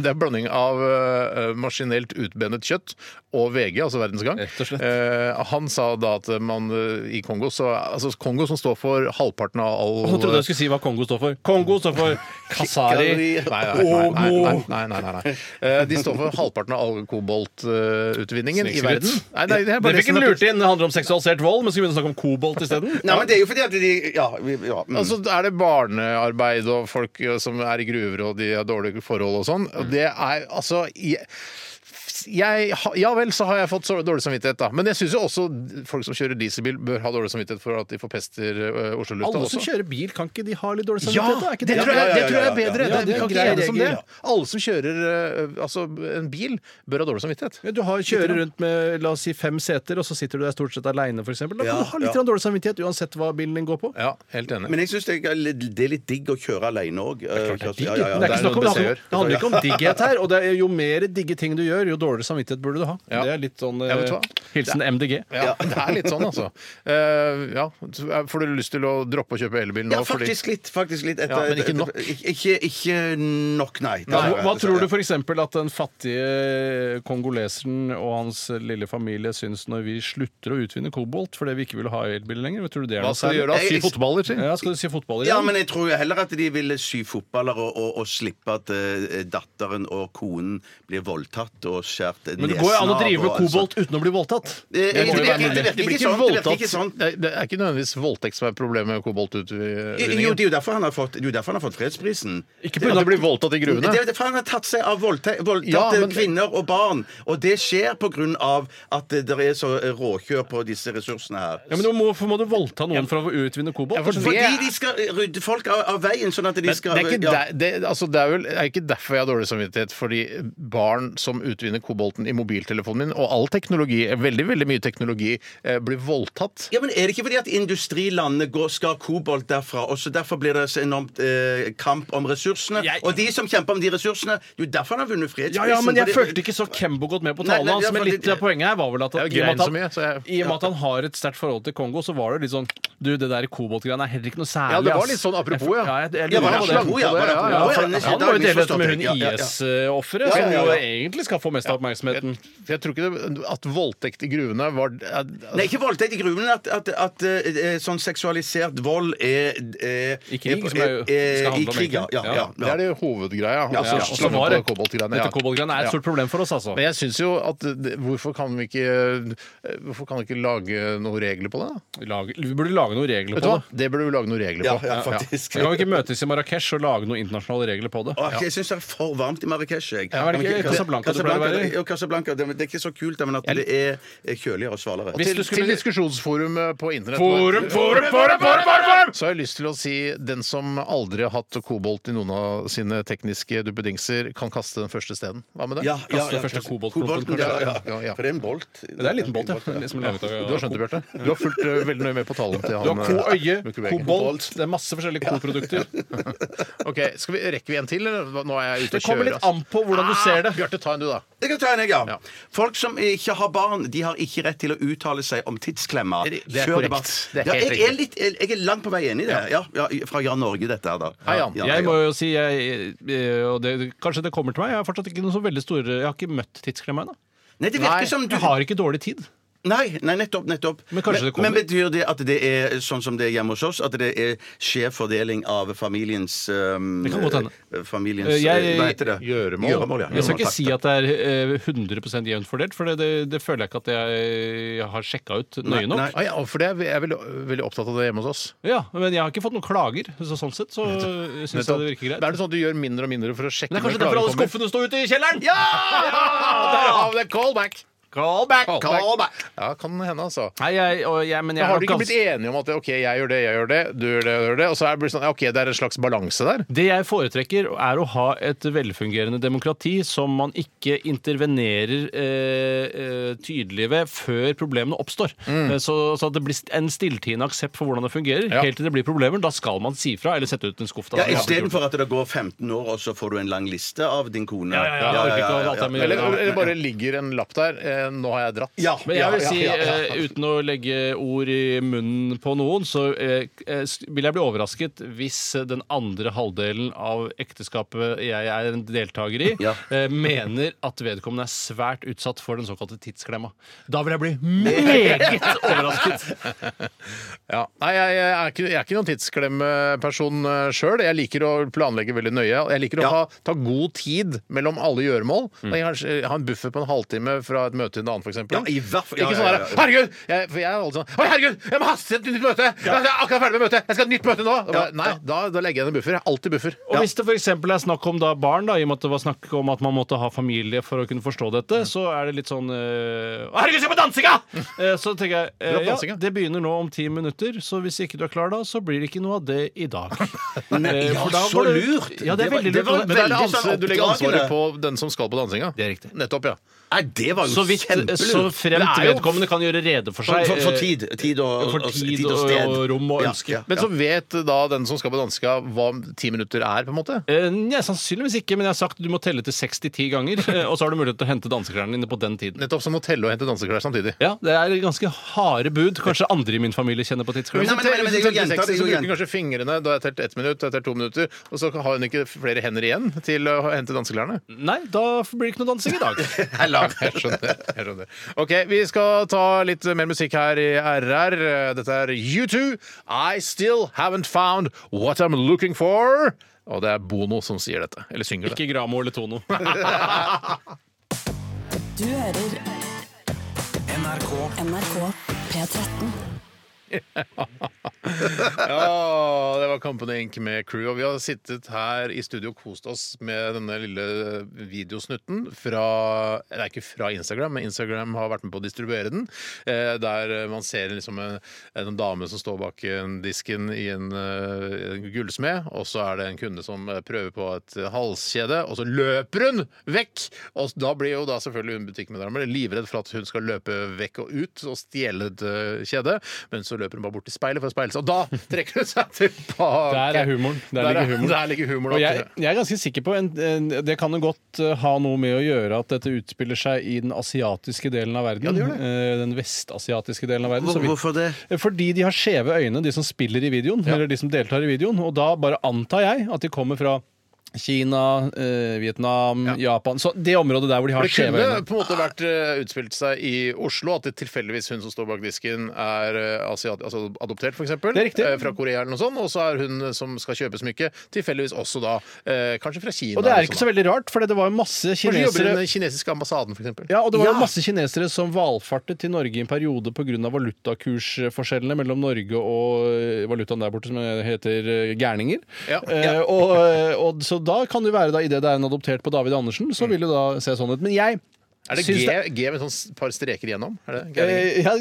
Det er blanding av eh, maskinelt utbenet kjøtt og VG, altså Verdensgang.
Rett og slett.
Eh, han sa da at man eh, i Kongo så, Altså Kongo som står for halvparten av all
Han trodde jeg skulle si hva Kongo står for. Kongo står for Kasari.
Nei, nei, nei, nei, nei, nei, nei, nei, nei. Eh, De står for halvparten av all koboltutvinningen i
Snikskryt.
verden. Nei, nei, det er
Det
bare
fikk
som
en
er-
lurt inn. Det handler om seksualisert vold, men skal vi begynne å snakke om kobolt isteden?
Nei, men det er jo fordi at de Ja. vi- ja mm.
Altså, er det barnearbeid og folk som er i gruver og de har dårlige forhold og sånn? Og Det er altså jeg, jeg, ha- ja vel, så har jeg fått så dårlig samvittighet, da. Men jeg syns jo også folk som kjører dieselbil, bør ha dårlig samvittighet for at de forpester øh, Oslo-lufta
Alle som
også.
kjører bil, kan ikke de ha litt dårlig
Ja,
samvittighet? da? Er
det
ikke
tror jeg, det tror jeg
ja, ja, ja, ja.
er bedre.
Ja,
det,
det er
vi kan
grei
ikke enes om det.
regel,
Alle som kjører øh, altså, en bil, bør ha dårlig samvittighet.
Ja, Du har, kjører rundt med la oss si, fem seter, og så sitter du der stort sett aleine, f.eks. Da kan
Ja,
du ha litt
ja.
dårlig samvittighet uansett hva bilen din går på.
Ja, helt enig.
Men jeg syns det, er litt- det er litt digg å køre alene òg.
Digg.
Ja,
Men
ja, ja.
det, er ikke
det er
snakk om,
noe
det, handler, det handler ikke om digghet her. Og det er jo mer digge ting du gjør, jo dårligere samvittighet burde du ha.
Ja.
Det er litt sånn
Ja, vet du
eh,
hva?
Hilsen MDG.
Ja, det er litt sånn, altså. Eh, ja. Får du lyst til å droppe å kjøpe elbil nå?
Ja,
fordi-
faktisk litt. faktisk litt etter,
Ja, men ikke nok.
Ik- Ikke, ikke nok, nei.
Hva,
Nei, altså,
hva
det-
tror du f.eks. at den fattige kongoleseren og hans lille familie syns når vi slutter å utvinne kobolt fordi vi ikke vil ha elbil lenger? Hva Tror du det er
Hva
noe
skal du
særlig?
gjøre da?
Jeg-
Sy fotballer, si?
Ja, skal du si fotball igjen?
Ja, men jeg tror jo heller at de ville sy fotballer og, og, og slippe at eh, datteren og konen blir voldtatt og skjært nesen av.
Men det går jo an å drive med
og alt sånt.
kobolt uten å bli voldtatt. må
Eh, eh,
jo
Det
være
virker-
mulig.
det virker ikke sånn. Det virker ikke sånn.
Det er- det er ikke nødvendigvis voldtekt som er problemet med
Jo,
koboltutvinningen.
det er jo derfor han har fått, det er jo derfor han har fått fredsprisen.
Ikke
At
pga.
det blir voldtatt i
Det er
gruvene.
jo derfor han har tatt seg av voldte- voldtatte
Ja, men-
kvinner og barn. Og det skjer pga. at det der er så eh, råkjør på disse ressursene her.
Ja, men du må, Hvorfor må du voldta noen for å utvinne kobolt?
Ja, for
Skjønner du?
det-
Fordi de skal eh, rydde folk av, av veien, sånn at de
Men det
skal
er, ikke
ja.
der, det, altså det er vel det er ikke derfor jeg har dårlig samvittighet. Fordi barn som utvinner kobolten i mobiltelefonen min, og all teknologi, veldig veldig mye teknologi, eh, blir voldtatt.
Ja, men Er det ikke fordi at industrilandene går, skal ha kobolt derfra? og så Derfor blir det så enormt eh, kamp om ressursene.
Jeg-
Og de som kjemper om de ressursene Det er jo derfor han har vunnet fredsprisen.
Ja, ja, men jeg
fordi-
følte ikke så Kembo godt med på
Nei,
talen
nei,
hans.
ja,
Men
fordi-
litt av poenget her var vel at, at
Jeg
i
grein
og med
så
at
mye,
han,
så jeg-
i og med at han har et sterkt forhold til Kongo, så var det litt sånn Du, det der kobolt-greiene er heller ikke noe særlig.
Ja, det var
ass.
litt sånn apropos, ja.
Jeg, ja, jeg, jeg,
Ja, var
lurer på
det
det.
apropos, ja, var det
Ja, ja, ja.
apropos? Ja, ja, ja,
Han var jo
ja, ja,
delt med hun
misforstått, ja, ja, ja.
IS-offeret,
Ja, ja, ja.
som jo egentlig skal få mest mest av oppmerksomheten.
Jeg tror ikke det, at voldtekt i gruvene var
Nei, ikke voldtekt i gruven, men at, at, at eh, eh, sånn seksualisert vold er eh,
I krig, som er jo-
eh, eh,
skal handle om
I krig, ja.
egentlig.
ja,
Ja.
ja,
Det er det hovedgreia.
Ja,
Altså,
ja,
og så
slå ned
var
på
det-
koboltgreiene,
Dette koboltgreiene er et
Ja.
stort problem for oss, altså.
Men jeg syns jo at det, hvorfor, kan vi ikke, eh, hvorfor kan vi ikke lage noen regler på det? da?
Lage, vi burde lage noen regler
Vet du
på
hva?
det.
Det burde vi lage noen regler på.
ja, ja, faktisk.
Vi kan vi ikke møtes i Marrakech og lage noen internasjonale regler på det?
Åh, Jeg syns det er for varmt i Marrakech. Jeg.
Ja, er det ikke
Men
Casablanca det pleier å være i?
Jo, Casablanca, det, det er ikke så kult, men at det er eh, kjøligere og svalere.
Hvis
Til,
du skulle-
til diskusjonsforum eh, på internett.
Forum, forum, forum, forum, forum, forum!
Så har jeg lyst til å si den som aldri har hatt kobolt i noen av sine tekniske duppedingser, kan kaste den første stenen. Hva med det?
Ja, ja, ja,
den Altså, første koboltklumpen,
kobolten, ja, ja.
Ja, ja.
For det er en bolt.
Det er en liten båt, ja. Liksom laget av-
Du har skjønt det, Bjarte? Du har fulgt eh, veldig nøye med på talen til
Du
han
har koøye,
eh, Mikkel Weggen.
kobolt Det er masse forskjellige koprodukter.
Ok, skal vi, Rekker vi en til, eller hva- nå er jeg ute
Det
og
kommer
kjører?
litt an på hvordan du ser det.
Ah, Bjarte, ta en du, da.
Jeg kan ta en, jeg, ja.
Ja.
Folk som ikke har barn, de har ikke rett til å uttale seg om tidsklemmer.
Det er
før
korrekt.
debatt.
Det er
ja,
helt
jeg, er litt, jeg, jeg er langt på vei enig i det. Ja, ja, fra Jan Norge, dette her, da.
Hei, Jan.
Ja,
Jeg må jo si, jeg, eh, og det, kanskje det kommer til meg, jeg har fortsatt ikke noen så veldig store Jeg har ikke møtt tidsklemma ennå.
Nei, det
Nei,
virker som du
Jeg har ikke dårlig tid.
Nei, nei, nettopp. nettopp.
Men kanskje det kommer.
men betyr det at det er sånn som det er hjemme hos oss, at det er skjev fordeling av familiens um,
Det kan godt hende.
eh, Familiens
Eh, jeg-
eh, Hva heter det?
Gjøremål.
ja.
Jeg skal ikke
Gjøremål, takk.
si at det er eh, 100 jevnt fordelt, for det, det, det føler jeg ikke at jeg har sjekka ut nøye nok.
Nei,
Ah, ja, for det er, jeg er veldig, veldig opptatt av det hjemme hos oss.
Ja, Men jeg har ikke fått noen klager, så sånn sett så syns jeg det virker
Men
greit.
Er det sånn at du gjør mindre og mindre for å sjekke
Men det er kanskje
når
derfor
klager
alle
kommer?
skuffene står ute i kjelleren! Ja!
Der har vi det! Callback!
Callback!
Ja, kan hende, altså.
Nei, jeg, og jeg, men jeg
Men har du ikke
gans-
blitt enige om at OK, jeg gjør det, jeg gjør det, du gjør det, jeg gjør det, og så er det sånn, ja, OK, det er en slags balanse der?
Det jeg foretrekker, er å ha et velfungerende demokrati som man ikke intervenerer eh, eh, tydelig ved før problemene oppstår. Eh, Så, så at det blir en stilltiende aksept for hvordan det fungerer.
Ja.
Helt til det blir problemer. Da skal man si fra eller sette ut en skuff. Da.
Ja,
Det har vi gjort.
Istedenfor at det går 15 år, og så får du en lang liste av din kone.
Ja, ja, ja, jeg orker ikke å ha alt det med å gjøre.
Eller, eller bare ligger en lapp der eh, 'Nå har jeg dratt'.
Ja,
Men jeg vil si,
ja, ja, ja.
eh, uten å legge ord i munnen på noen, så eh, eh, s- vil jeg bli overrasket hvis den andre halvdelen av ekteskapet jeg er en deltaker i,
Ja.
eh, mener at vedkommende er svært utsatt for den såkalte tidsklemma. Da vil jeg bli meget overrasket.
Ja. Nei, jeg, jeg, er ikke, jeg er ikke noen tidsklemmeperson eh, sjøl. Jeg liker å planlegge veldig nøye. Jeg liker å
Ja. Mm.
ha, ta god tid mellom alle gjøremål. Jeg har, jeg har en buffer på en halvtime fra et møte til en annen, f.eks.
Ja, i hvert fall- ja,
ikke
ja,
sånn
ja,
der,
ja.
'Herregud!' Jeg, for jeg er alltid sånn 'Å, herregud, jeg må haste til et nytt møte!' 'Jeg er akkurat ferdig med møtet! Jeg skal ha et nytt møte nå!' Da bare, Nei, da, da legger jeg igjen en buffer. Jeg er alltid buffer.
Og hvis det for eksempel er snakk om da barn, da, i og med at det var snakk om at man måtte ha familie for å kunne forstå
Mm.
dette, så er det litt sånn eh, «Å, Herregud, se på dansinga! Eh, så tenker jeg eh,
Dra på
ja,
dansinga.
det begynner nå om ti minutter, så hvis ikke du er klar da, så blir det ikke noe av det i dag. Eh,
ja,
for da
så
går det-
lurt!
Ja, det
Det
er altså
var-
veldig
det
lurt.
var
og
Men det er det
det-
Veldig sånn
ansvaret, du legger ansvaret på
oppdragende.
den som skal på dansinga.
Det er riktig.
Nettopp, ja.
Nei, det var jo
Så vidt, eh, så
kjempelurt!
fremt
Det er jo-
vedkommende kan gjøre rede for
For,
seg.
for, for
eh,
tid, tid og,
for tid og- og rom og ønske.
Men så vet da den som skal på danska hva ti minutter er, på en måte?
eh, Nei, sannsynligvis ikke, men jeg har sagt du må telle til 60-10 ganger, eh, og så har du mulighet til å hente danseklærne dine på den tiden.
Nettopp som å telle og hente danseklær samtidig.
Ja, det er ganske harde bud. Kanskje andre i min familie kjenner på
Hvis
tidsklemma.
du
Nei, men-
teller
men- men
hvis du
det
teller til
er jo jenter,
60,
det er
så
jo
bruker
jenter.
hun kanskje fingrene. Da har jeg telt ett minutt, da har jeg telt to minutter. Og så har hun ikke flere hender igjen til å hente danseklærne.
Nei, da blir det ikke noe dansing i dag.
Jeg skjønner, jeg skjønner. OK, vi skal ta litt mer musikk her i RR. Dette er U2. I still haven't found what I'm looking for. Og det er Bono som sier dette. Eller synger det.
Ikke Gramo eller Tono.
Du hører
NRK
NRK P13.
Ja, det var Company Inc. med crew. Og vi har sittet her i studio og kost oss med denne lille videosnutten fra Det er ikke fra Instagram, men Instagram har vært med på å distribuere den. eh, Der man ser liksom en, en dame som står bak en disken i en, eh, en gullsmed, og så er det en kunde som eh, prøver på et halskjede, og så løper hun vekk! Og da blir jo da selvfølgelig hun butikkmedarbeideren livredd for at hun skal løpe vekk og ut og stjele et eh, kjede, men så løper hun bare bort til speilet for å speile seg, og da trekker hun seg tilbake!
Der er humoren. Der
Der,
ligger
er-
humoren.
der ligger humoren.
Og jeg,
opp.
jeg er ganske sikker på en, en, Det kan jo godt eh, ha noe med å gjøre at dette utspiller seg i den asiatiske delen av verden. eh, Den vestasiatiske delen av verden. så
Hvor,
vi-
hvorfor det?
Fordi de har skjeve øyne, de som spiller i videoen. Eller de som deltar i videoen Og da bare antar jeg at de kommer fra Kina, eh, Vietnam, Japan Så det området der hvor de har
Det kunne
skjeve øyne.
på en måte vært eh, utspilt seg i Oslo, at det tilfeldigvis hun som står bak disken, er eh, asiat, altså adoptert, f.eks.
Det er riktig.
Fra Korea eller noe sånt. Og så er hun som skal kjøpe smykket, tilfeldigvis også da eh, kanskje fra Kina. sånn
Og det er ikke så veldig rart, for det var jo masse
Kanskje jobber i
kinesere
den kinesiske ambassaden, f.eks.
ja, og det var jo
Ja.
masse kinesere som valfartet til Norge i en periode pga. valutakursforskjellene mellom Norge og eh, valutaen der borte som heter eh, gærninger.
Ja.
Eh, og, eh, og, så da kan det jo være, da, idet det er en adoptert på David Andersen,
Mm.
så vil det da se sånn ut. Men jeg
Er det G,
syns det-
G med sånn s- par streker igjennom? Er det gærninger?
Eh, Ja,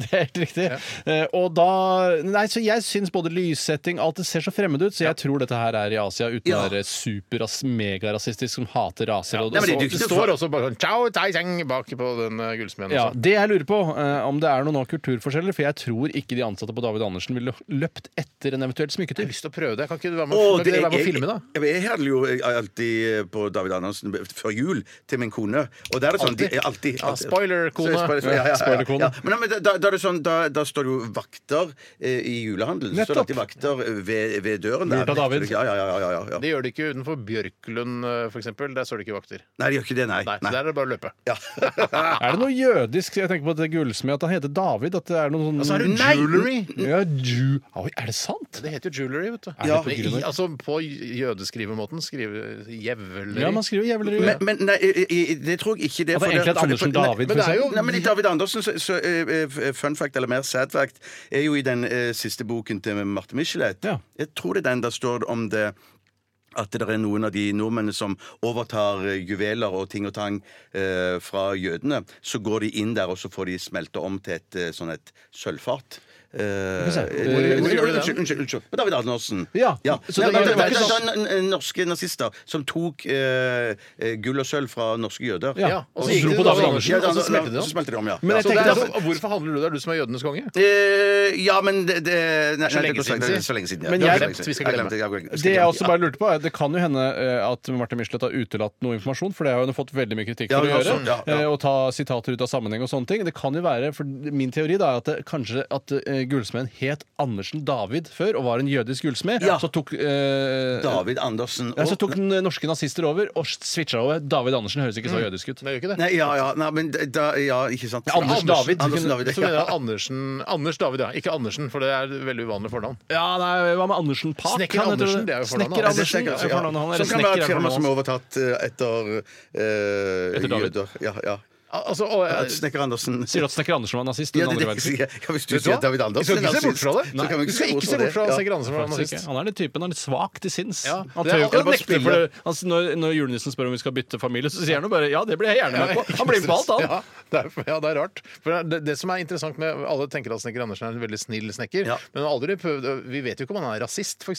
det er helt riktig. Eh, Og da Nei, så jeg syns både lyssetting Alt det ser så fremmed ut, så jeg tror dette her er i Asia, uten å
Ja.
være superas- megarasistisk som hater raser. Og,
Nei, men de er
og,
det
dyktige
står også bare sånn Ciao, tai, zeng, bak på den eh, gullsmeden.
ja,
også.
det jeg lurer på, eh, om det er noen av kulturforskjeller, for jeg tror ikke de ansatte på David Andersen ville løpt etter en eventuelt
Jeg
smykketyv.
har lyst til å prøve det. Kan ikke du være med,
Å,
kan ikke
det-
dere være med
jeg-
og filme, da?
Jeg, jeg, jeg handler jo eh, alltid på David Andersen før jul til min kone. Og der er det sånn,
Alltid?
de- alltid,
Ja, spoiler-kone.
Så jeg spoiler- ja, ja, ja,
Spoiler-kone.
ja. Men, nei, men da, da, er det sånn, da, da står det jo vakter eh, i julehandelen. Så står det alltid vakter eh, ved, ved døren. der.
Lurt av David.
Ja, ja, ja, ja, ja, ja.
Det gjør det ikke utenfor Bjørklund, eh, for eksempel Der står det ikke vakter.
Nei, de gjør ikke det, nei.
Nei,
nei.
Der er det bare å løpe.
Ja.
Er det noe jødisk Jeg tenker på at det gullsmed, at han heter David. At det er noe sånn
Altså, er det
Nei.
jewelry?
ja, Jew. Oi, er det sant?
Det heter jo jewelry, vet du.
Ja.
Men i, altså på jødeskrivemåten skrive jævler
Ja, man skriver jævlig
Men, men nei, i- i- det tror jeg ikke det.
At det
for
egentlig er
for- for-
Andersen
nei,
David,
men det er jo-
Nei, men i David Andersen, så, så eh, eh, fun fact eller mer sad fact, er jo i den eh, siste boken til Marte Michelet.
Ja.
Jeg tror det er den der står det om det at det er noen av de nordmennene som overtar eh, juveler og ting og tang eh, fra jødene. Så går de inn der, og så får de smelta om til et eh, sånn et sølvfat. Eh,
se.
eh,
Hvor-
hvor gjør de det?
unnskyld, unnskyld, unnskyld. På David Andersen.
Ja, så det var-
Nei,
det
det,
var
det,
ikke
det,
sånn-
N- n- eh, norske nazister som tok eh, eh, gull og sølv fra norske jøder.
Ja,
og
og
så
så
gikk
dro
de
på
til
David
sånn-
David
Andersen.
Andersen. og så smelte de
om.
om.
Så smelte de om, ja.
Men jeg
Så det
tenkte
er
at-
så- hvorfor handler du der, du som er jødenes konge?
Eh, ja, men det, det nei,
Så
nei,
lenge
det går
siden,
ikke-
sier.
Så lenge siden. Ja.
Men
Det
jeg-
går ikke
vi skal
Jeg
glemme.
glemte- jeg glemte- jeg
Det jeg også
glemte-
bare lurte på er, det kan jo hende eh, at Martin Michelet har utelatt noe informasjon, for det har hun fått veldig mye kritikk
Ja,
for å
hun har
gjøre.
sånn, ja, ja.
eh, Å ta sitater ut av sammenheng og sånne ting. Det kan jo være, for Min teori da er at det, kanskje at eh, gullsmeden het Andersen David før og var en jødisk gullsmed.
Ja.
Så tok eh,
ja. David Andersen
ja, så
og
tok den norske nazister over og switcha over. David Andersen høres ikke så
Mm.
jødisk ut.
Nei, gjør ikke det.
Nei, ja, ja, nei, men da, ja, ikke sant.
Anders David.
Andersen David,
Så mener jeg Andersen, Anders David, ja. Ikke Andersen, for det er et veldig uvanlig fornavn.
Ja, nei, Hva med Andersen Park?
Snekker
Han heter
Andersen, det er jo fornavnet. Ja,
Snekker
Det
Andersen.
tenker jeg
er
også, ja.
fornavnet hans. Eller
Som kan være
snekker
et
er
firma
fornavnet
som er
hans.
overtatt eh, etter, eh,
Etter David.
jøder. Ja, ja.
Al- Altså, og,
Eh,
At
jeg,
Snekker Andersen
Sier du at Snekker Andersen var nazist?
ja,
under
det,
andre
det,
verdenskrig?
ja, Hvis
Vet
du
eh, du
sier
hva?
David
vi skal
Andersen er
ikke se bort
nazist,
fra det.
så kan vi
Vi skal ikke se
det.
bort fra
Ja.
Sigurd Andersen var
Faktisk
nazist.
ikke. Han er den typen, han er litt svak til sinns.
Ja.
Han
Det er
tør jo ikke
akkurat
å nekte
spille.
for det. Altså, når, når julenissen spør om vi skal bytte familie, så sier han jo bare ja, det blir jeg gjerne med på. Han blir med på alt, han.
Ja, det er, ja, det er rart. For det, det som er interessant med Alle tenker at snekker Andersen er en veldig snill snekker,
Ja.
men aldri prøvd, vi vet jo ikke om han er rasist, f.eks.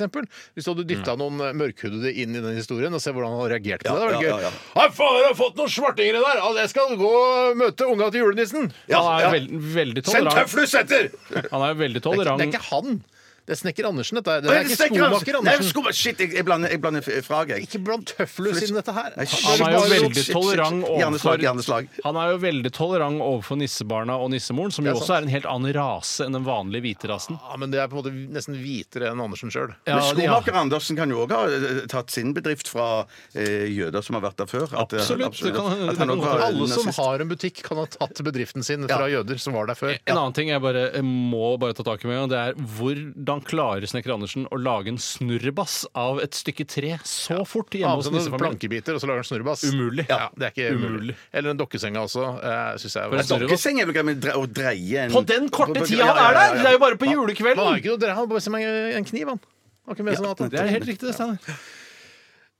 Hvis du hadde dytta noen mørkhudede inn i den historien og se hvordan han hadde reagert på
Ja,
det. Det
ja,
var
ja,
gøy. Hei, faen, dere har fått noen svartinger i der! Altså, jeg skal gå og møte unga til julenissen! Altså,
Han er veld, veldig tolerant.
etter!
Han er veldig
Det er, ikke, det er
tolerant.
ikke han. Det er snekker Andersen, dette. her. Det
Nei,
er ikke
Snekker Andersen.
skomaker
Nei,
Andersen.
skoma- Shit, jeg, jeg blander, jeg blander frag, jeg.
Ikke blant tøfler siden dette her.
Han er jo
bare-
veldig tolerant
Hjerneslag,
overfor
hjerneslag.
Han er jo veldig tolerant overfor nissebarna og nissemoren, som jo
Det er
også er en helt annen rase enn den vanlige hvite rasen.
Ja, men det er på en måte nesten hvitere enn Andersen sjøl.
Ja,
Men
de- ja.
skomaker Andersen kan jo òg ha eh, tatt sin bedrift fra eh, jøder som har vært der før. At, eh,
Absolutt, det kan-
at han
det kan-
også var
Alle som
nazist.
har en butikk, kan ha tatt bedriften sin fra jøder som var der før.
En annen ting jeg bare jeg må bare ta tak i med, og det er hvordan klarer Snekker Andersen å lage en snurrebass av et stykke tre så fort hjemme
Annet
hos
enn noen
nissefamilien?
plankebiter, og så lager han snurrebass.
Umulig.
Ja, det er ikke umulig.
Umulig.
Eller en dokkesenga også. Eh, synes jeg
For en snurrebass-
Dokkeseng er vel greit med dre- å dreie en
Mm. På den korte
på- på-
tida han
ja,
er
ja, ja,
der!
ja.
Det er jo bare på
Men han har
julekvelden!
ikke noe dere har bare sett meg en kniv, han. Har ikke med seg noe annet,
Det
han.
er helt riktig, det, Steinar.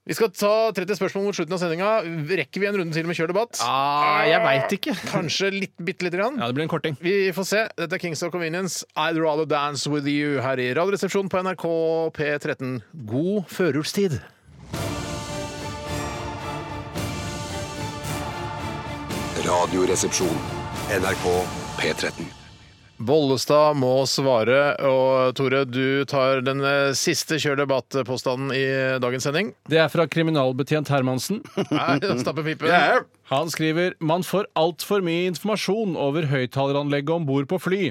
Vi skal ta 30 spørsmål mot slutten av sendinga. Rekker vi en runde til med kjør debatt?
Ah, jeg veit ikke.
Kanskje litt, bitte lite grann?
Ja, det blir en korting.
Vi får se. Dette er Kings of Convenience. I'd rather dance with you her i Radioresepsjonen på NRK P13. God førjulstid!
Radioresepsjon. NRK P13.
Bollestad må svare. Og Tore, du tar den eh, siste kjør debatt-påstanden i dagens sending.
Det er fra kriminalbetjent Hermansen.
Nei, da stapper pipen.
Han skriver man får altfor mye informasjon over høyttaleranlegget om bord på fly.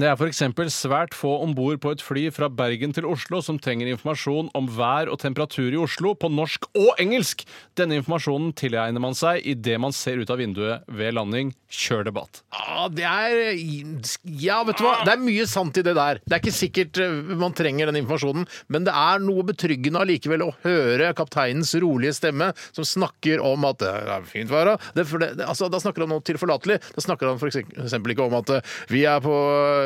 Det er f.eks. svært få om bord på et fly fra Bergen til Oslo som trenger informasjon om vær og temperatur i Oslo på norsk og engelsk. Denne informasjonen tilegner man seg idet man ser ut av vinduet ved landing. Kjør debatt.
Ja, det er Ja, vet du hva. Det er mye sant i det der. Det er ikke sikkert eh, man trenger den informasjonen, men det er noe betryggende allikevel å høre kapteinens rolige stemme som snakker om at eh, det er fint vær, da. Det, for det, det- altså, da snakker han om tilforlatelig. Da snakker han for eksempel ikke om at eh, vi er på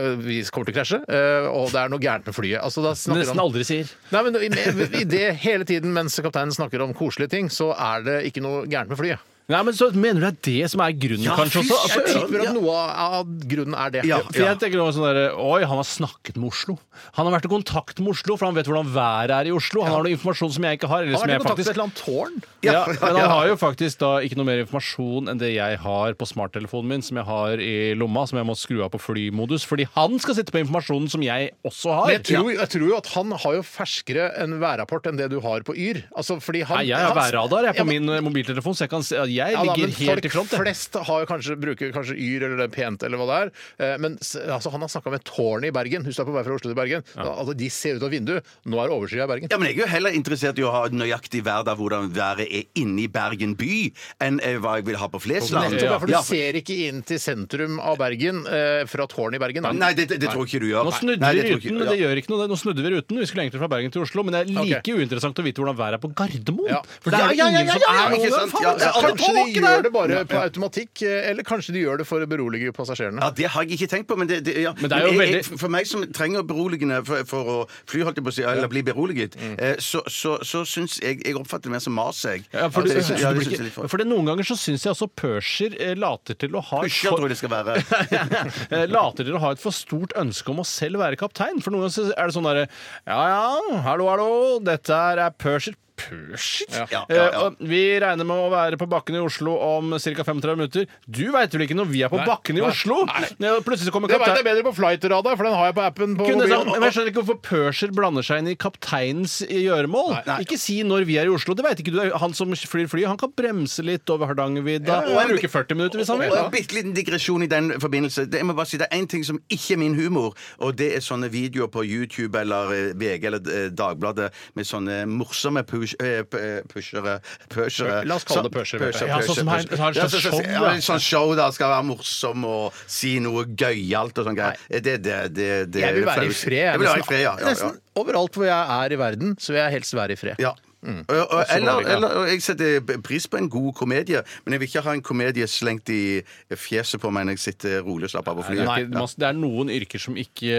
Vi kommer til å krasje, eh, og det er noe gærent med flyet. Altså, da snakker
Nesten
han
aldri sier.
Nei, men i, i det hele tiden mens kapteinen snakker om koselige ting, så er det ikke noe gærent med flyet.
Nei, men så Mener du det er det som er grunnen, kanskje?
fy
også?
Jeg
Altså,
søren.
tipper at noe av av grunnen er det.
Ja.
For jeg tenker også sånn der, Oi, han har snakket med Oslo. Han har vært i kontakt med Oslo, for han vet hvordan været er i Oslo. Han har noe informasjon som jeg ikke har. Eller
Han
som
har vært i
jeg
kontakt med et
faktisk
eller annet tårn.
Ja, men han har jo faktisk da ikke noe mer informasjon enn det jeg har på smarttelefonen min, som jeg har i lomma, som jeg må skru av på flymodus, fordi han skal sitte på informasjonen som jeg også har.
Men jeg tror, jeg tror jo at han har jo ferskere en værrapport enn det du har på Yr. Altså, fordi han,
Nei, jeg har
han-
værradar jeg, på
Ja, men-
min eh, mobiltelefon, så jeg, kan, se- jeg
Ja, da,
ligger
men
helt i
folk
front. jeg.
flest har jo kanskje, bruker kanskje Yr eller det pent eller hva det er. Eh, Men s- altså, han har snakka med tårnet i Bergen. Hvis du er på vei fra Oslo til Bergen, da, altså, de ser ut av vinduet. Nå er det overskyet i Bergen.
Ja, men Jeg er jo heller interessert i å ha nøyaktig vær der hvordan været er inne i Bergen by, enn eh, hva jeg vil ha på Flesland.
Nettopp, ja, for du
Ja, for-
ser ikke inn til sentrum av Bergen eh, fra tårnet i Bergen. da.
Nei, det, det, det tror jeg ikke du gjør.
Nå snudde
Nei,
vi
det tror jeg
ruten,
ikke-
men
ja.
det gjør ikke noe. det. Nå snudde vi ruten. Vi skulle egentlig fra Bergen til Oslo, men det er like
Ok.
uinteressant å vite hvordan været er på Gardermoen.
Ja.
For der er det
Ja, ja,
ingen
ja,
som
ja,
er
ja,
ikke
noe
sant?
faen,
Ja,
det er
ja,
alle
Kanskje de
tåke der!
gjør det bare på automatikk, eh, eller kanskje de gjør det for å berolige passasjerene.
Ja, Det har jeg ikke tenkt på, men det, det, ja.
Men det er jo
jeg, jeg,
veldig-
for meg som trenger beroligende for, for å fly, holdt jeg på å si, eller bli beroliget,
Mm.
eh, så, så, så syns jeg Jeg oppfatter det mer som mas, jeg.
Ja, for,
At
du,
jeg synes- ja,
du
det
blir
synes jeg
ikke-
litt for-
for det, noen ganger så syns jeg også Perser eh, later til å ha et
Pusher,
for-
tror jeg det skal være.
Eh, later til å ha et for stort ønske om å selv være kaptein. For noen ganger så er det sånn derre Ja ja, hallo, hallo, dette her er Perser. Perser?
Ja, ja, ja.
Eh, og Vi regner med å være på bakken i Oslo om ca. 35 minutter. Du veit vel ikke når vi er på
Nei.
bakken i
Nei.
Oslo? Ja, Plutselig så kommer
Det veit jeg
kaptein
bedre på flightradar, for den har jeg på appen på
kunne sagt,
mobilen.
men jeg skjønner ikke hvorfor Perser blander seg inn i kapteinens eh, gjøremål. Ikke si når vi er i Oslo. Det vet ikke du. Han som flyr flyet, han kan bremse litt over Hardangervidda
ja, ja.
og bruke 40 minutter hvis han
Og
vil.
en bitte liten digresjon i den forbindelse. Det, jeg må bare si, det er én ting som ikke er min humor, og det er sånne videoer på YouTube eller eh, VG eller eh, Dagbladet med sånne morsomme push, eh, p- eh, pushere pushere.
La oss kalle det
Sånn-
pushere, Bjarte.
pusher,
Ja, sånn
pusher,
som har-
pusher.
har en
Ja,
slags
sånn-
show,
ja,
da.
en sånn show der skal være morsom og si noe gøyalt og sånn greier. Det, det, det, det
Jeg vil være i fred.
Jeg vil være i fred, ja. ja, ja.
Nesten overalt hvor jeg er i verden, så vil jeg helst være i fred.
Ja.
Mm.
Og- og- eller, eller, og jeg setter pris på en god komedie, men jeg vil ikke ha en komedie slengt i fjeset på meg når jeg sitter rolig og slapper av på flyet.
Nei,
Ja.
man- det er noen yrker som ikke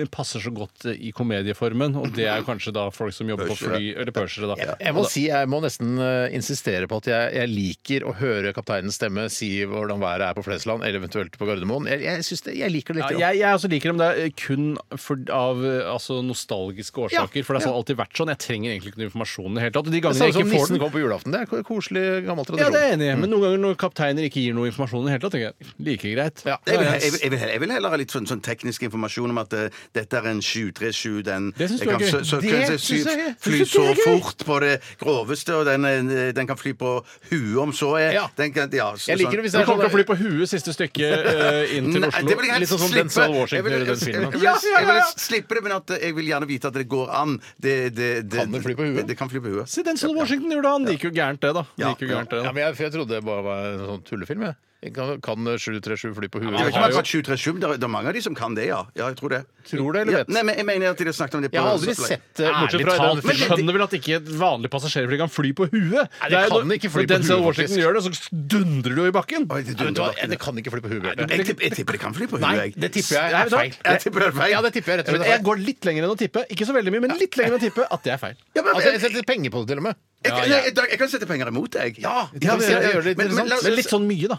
eh, passer så godt eh, i komedieformen, og det er kanskje da folk som jobber på fly eller pørsere, da.
Jeg må si, jeg må nesten eh, insistere på at jeg, jeg liker å høre kapteinens stemme si hvordan været er på Flesland, eller eventuelt på Gardermoen. Jeg, jeg, synes det, jeg liker det
Ja,
litt. grann.
jeg, jeg også liker det, men det er eh, kun for, av eh, altså, nostalgiske årsaker.
Ja,
For det har
ja.
sånn alltid vært sånn. Jeg trenger egentlig ikke noe informasjon i det hele tatt. Og de
det
gangene
samme
jeg
som
ikke får
nissen
den Mm.
kommer på julaften. Det er en koselig, gammel
Ja,
tradisjon.
det er jeg enig i, men noen ganger når kapteiner ikke gir noe informasjon i det hele tatt, tenker jeg like greit.
Ja.
Jeg vil, jeg, vil, jeg, vil, jeg vil heller ha litt sånn, sånn teknisk informasjon om at eh, dette er en 737 den
Det synes du
jeg
er
kan
gøy.
så- så-
Det
kan jeg
synes
sy-
jeg er gøy. Synes
Fly
du
så
det er gøy?
fort på det groveste, og den, eh, den kan fly på huet om så er.
Ja.
Den kan, ja, så,
Jeg liker det hvis
Du
det er
kommer til å fly
sånn
på huet siste stykke eh, inn til
Nei,
Oslo.
det vil jeg helst
Litt sånn som
slippe.
Denzel Washington
Jeg vil-
gjorde i den
jeg-
filmen.
Jeg, vil-
Ja, ja, ja,
jeg vil
ja.
helst slippe det, men at eh, jeg vil gjerne vite at det går an. Det, det, det,
Kan det fly på huet?
Det kan fly på huet.
Se, den som Washington gjorde, han. Det gikk jo gærent, det, da. Det
Ja,
gikk jo gærent, det,
ja,
da.
men jeg, for jeg trodde det bare var en sånn tullefilm. Jeg. Jeg Kan, kan 737 fly på
Jeg vet
huet?
ikke om akkurat 737, men det er- det er mange av de som kan det, ja. ja jeg tror det.
Tror det, eller vet?
Ja, nei, men jeg mener at de har snakket om det på
Jeg har aldri sett det, bortsett
Ærlig
fra i
talt,
den
du
filmen.
skjønner vel at ikke et vanlig passasjerfly kan fly på huet?
det kan
er jo når-
ikke fly
når
på
Denzel
huet,
Washington
faktisk.
gjør det, så dundrer du i bakken.
Ja,
Oi, det
vet du hva?
dundrer
Det kan ikke fly på huet, Bjarte.
Jeg, tipp- jeg tipper det kan fly på huet.
Nei,
jeg.
det tipper jeg
Nei, vet
er
du hva?
feil.
Jeg tipper det er feil.
Ja, det tipper jeg rett og slett. er feil.
Jeg går litt lenger enn å tippe. Ikke så veldig mye, men litt lenger enn å tippe at det er feil.
Ja, men-
Altså, jeg setter penger på det, til og med.
Jeg, nei, jeg, jeg kan sette penger imot deg. Ja,
kan se- gjør det litt
men, men, la
interessant.
oss-
Men litt sånn mye, da.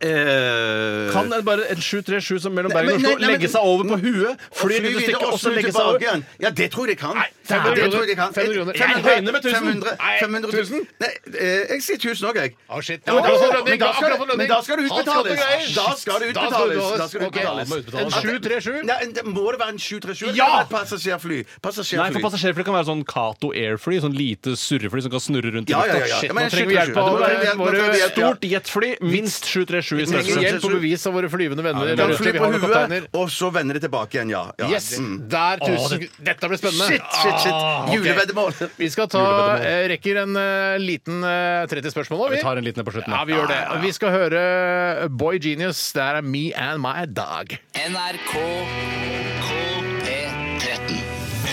eh,
Kan en bare en 737 som mellom
Nei,
Bergen og
men-
Oslo
nei, nei,
legge
men-
seg over på huet,
og
fly litt
videre
stykke,
og
og så
snu
legge seg
tilbake
over?
igjen? Ja, det tror jeg de kan.
fem
Ja, det
millioner.
tror jeg de kan.
Fem millioner.
Fem-
Jeg høyner med tusen.
500,
Nei,
500
tusen.
Nei, eh, jeg sier 1000 òg, jeg.
Å, shit.
Ja, men, da,
Akkurat som
men,
Lønning,
da
akkurat
skal,
som
men
Lønning.
da skal det
Han skal
utbetales!
til greier.
Da skal
Da
det
skal det
utbetales! Da skal det
Ok,
utbetales.
må utbetales. En 737?
Nei, en- det må det være en 737?
Ja!
Eller et Passasjerfly. Passasjerfly.
Nei, for passasjerfly kan være sånn Cato Airfly, sånn lite surrefly som kan snurre rundt i
Ja, ja,
lufta.
ja, ja.
Shit,
Men
nå
en
trenger vi hjelp
737.
av
Nå trenger vi hjelp, nå trenger vi hjelp.
Stort jetfly, minst
sju i strømmen.
Trenger hjelp
Hjelp
på
og bevis av våre flyvende venner.
Kan fly på huet, og så vender det tilbake igjen, ja. ja.
Yes!
Mm.
Der,
Å,
tusen
det-
Dette blir spennende!
Shit, shit, shit.
Ah, ok.
Juleveddemål.
Vi skal ta eh, rekker en eh, liten eh, 30 spørsmål nå,
Vi tar en liten en på slutten.
Ja, vi gjør det. Vi skal høre eh, Boy Genius. Der er Me and My Dog.
NRK P13.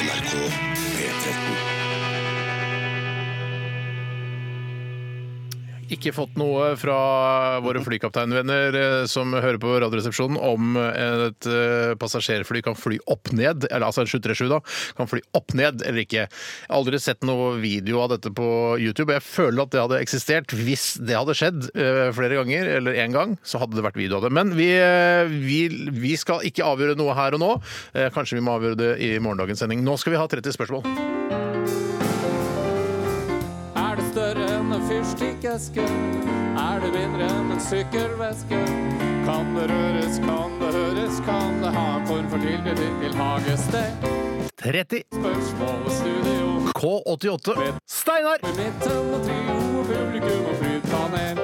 NRK P13.
Ikke fått noe fra våre flykapteinvenner eh, som hører på Radioresepsjonen om et eh, passasjerfly kan fly opp ned, eller altså en 737 da, kan fly opp ned eller ikke. Jeg har aldri sett noe video av dette på YouTube, og jeg føler at det hadde eksistert hvis det hadde skjedd eh, flere ganger, eller én gang, så hadde det vært video av det. Men vi, eh, vi, vi skal ikke avgjøre noe her og nå. Eh, Kanskje vi må avgjøre det i morgendagens sending. Nå skal vi ha 30 spørsmål.
Er det større enn en fyrstikkeske? Er det mindre enn en sykkelveske? Kan det røres, kan det høres, kan det ha en form for tilknytning til hagested?
30
Spørsmål og studio
K88. Steinar!
i midten og trio og publikum og flypanel.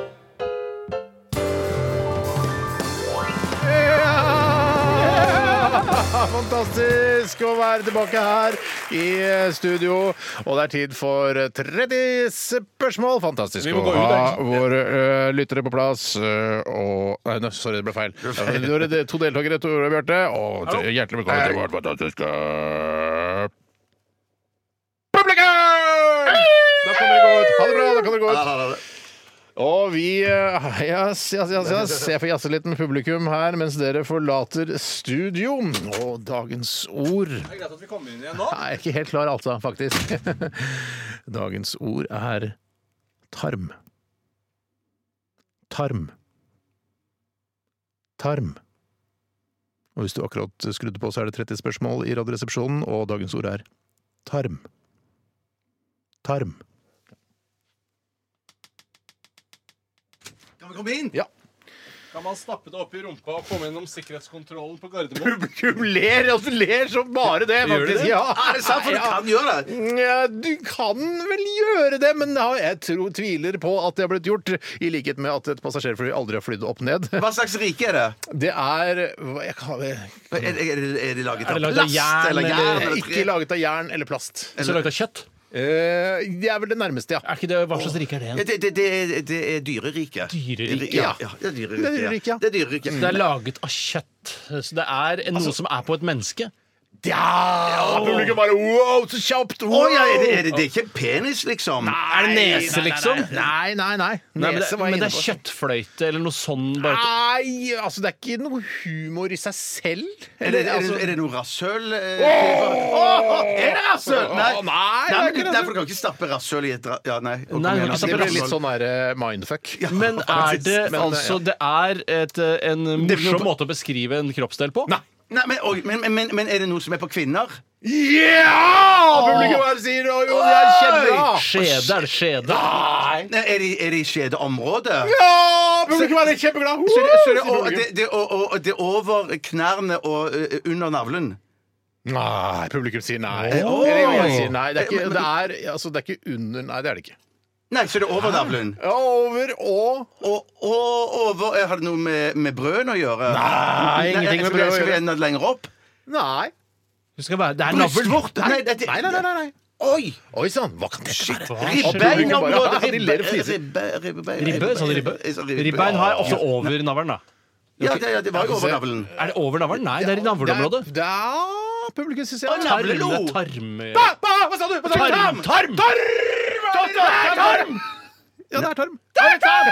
Ja! Fantastisk å være tilbake her i studio. Og det er tid for 30 spørsmål. Fantastisk
Vi må
å
gå ut,
ha
egentlig.
våre ø, lyttere på plass. ø, og Nei, nå, sorry, det ble feil. Det var det- to deltakere, Tore og Bjarte. Og t- hjertelig velkommen til vårt fantastiske publikum! Da kan dere gå ut. Ha det bra. da kan dere gå ut.
Ja, ja, ja.
Og vi eh, yes, yes, yes, yes. Jeg får jazze litt med publikum her mens dere forlater studio. Og dagens ord
Det er greit at vi kommer inn igjen nå.
Nei, Jeg er ikke helt klar, altså, faktisk. Dagens ord er tarm. Tarm. Tarm. Og hvis du akkurat skrudde på, så er det 30 spørsmål i Radioresepsjonen, og dagens ord er tarm. Tarm.
Kan vi komme inn?
Ja.
Kan man stappe det opp i rumpa og komme gjennom sikkerhetskontrollen på Gardermoen?
Publikum ler, altså ler som bare det,
Gjør de
faktisk.
det?
Ja.
Er det sant? For du
Ja.
kan gjøre det.
Ja, du kan vel gjøre det, men ja, jeg tror, tviler på at det har blitt gjort. I likhet med at et passasjerfly aldri har flydd opp ned.
Hva slags rike er det?
Det er hva- jeg kan, eh,
Er, er, er, det- er det laget
Er
av
det laget av
plast
jern,
eller
eller-
jern? eller tre?
Ikke laget av jern eller plast.
Så laget av kjøtt?
Eh, Det er vel det nærmeste, ja.
Er ikke det, Hva slags rike er det
Ja,
igjen?
det, det, det, er- det er dyreriket.
Dyreriket,
ja.
ja.
ja. Det
Det
er
er
dyreriket.
dyreriket, ja.
Det er dyreriket.
Det er laget av kjøtt. Så det er en, noe som er på et menneske.
Ja! Publikum bare wow, så kjapt!
Å
Wow!
ja, er det, er det, det er ikke penis, liksom?
Er det nese, liksom?
Nei, nei, nei.
Nei, men, det,
Nese var jeg
men det
inne
er
på.
kjøttfløyte eller noe sånn bare
Nei, altså det er ikke noe humor i seg selv.
Er
Eller,
det, er, det,
altså-
er det noe rasshøl? eh, Åh, Er det rasshøl? Nei,
Åh, altså? nei, det er ikke
men
rasshøl.
Derfor kan du ikke stappe rasshøl i et ra- Ja, nei. Og kom
Nei, du
Det
kan ikke
igjen, altså,
stappe
blir
ble litt sånn der, eh, mindfuck.
men er det
Men, eh, ja.
altså Det er et, eh, en
noe
morsom
på-
måte å beskrive en kroppsdel på?
Nei.
sånn- Nei, men, oi, men, men, men er det noe som er på kvinner?
Ja! Publikum her sier «Å, jo, det er kjempebra!
Skjede? Er det skjede?
Nei, er det, er det i skjedeområdet?
Ja! Publikum her er kjempeglad!
Så det, så det,
Sier
og,
publikum.
det, det, og, og, det er over knærne og eh, under navlen?
Nei, publikum sier nei.
Åh.
Eller jo, jeg sier nei. Det er,
Eh,
ikke,
men-
det, er, altså, det er ikke under Nei, det er det ikke.
Nei, så det er over navlen.
Ja, Over og
Og, og over eh, Har det noe med, med brøden å gjøre?
Nei,
ingenting med
skal vi-
brød å
Skal vi
gjøre.
enda lenger opp?
Nei.
Du skal være, det er navlen.
Brystvort? Nei, dette-
Nei, nei, nei. nei, nei.
Oi!
Oi sann, hva kan dette være?
Ribbein-området.
Ja, de ler og fliser.
Ribbe? Sa du sånn ribbe? Ribbein har jeg ofte over navlen, da.
Ja, det, ja, det var jo over navlen.
Er det over navlen? Nei, det er i navleområdet.
Det er- Ja, publikum syns jeg
Å, nei. navlelo.
Tarm, det er tarm.
Hva- hva- Hva sa du? Hva sa du?
Tarm, tarm!
Tarm! Tarm! Tarm! Ja, det er tarm.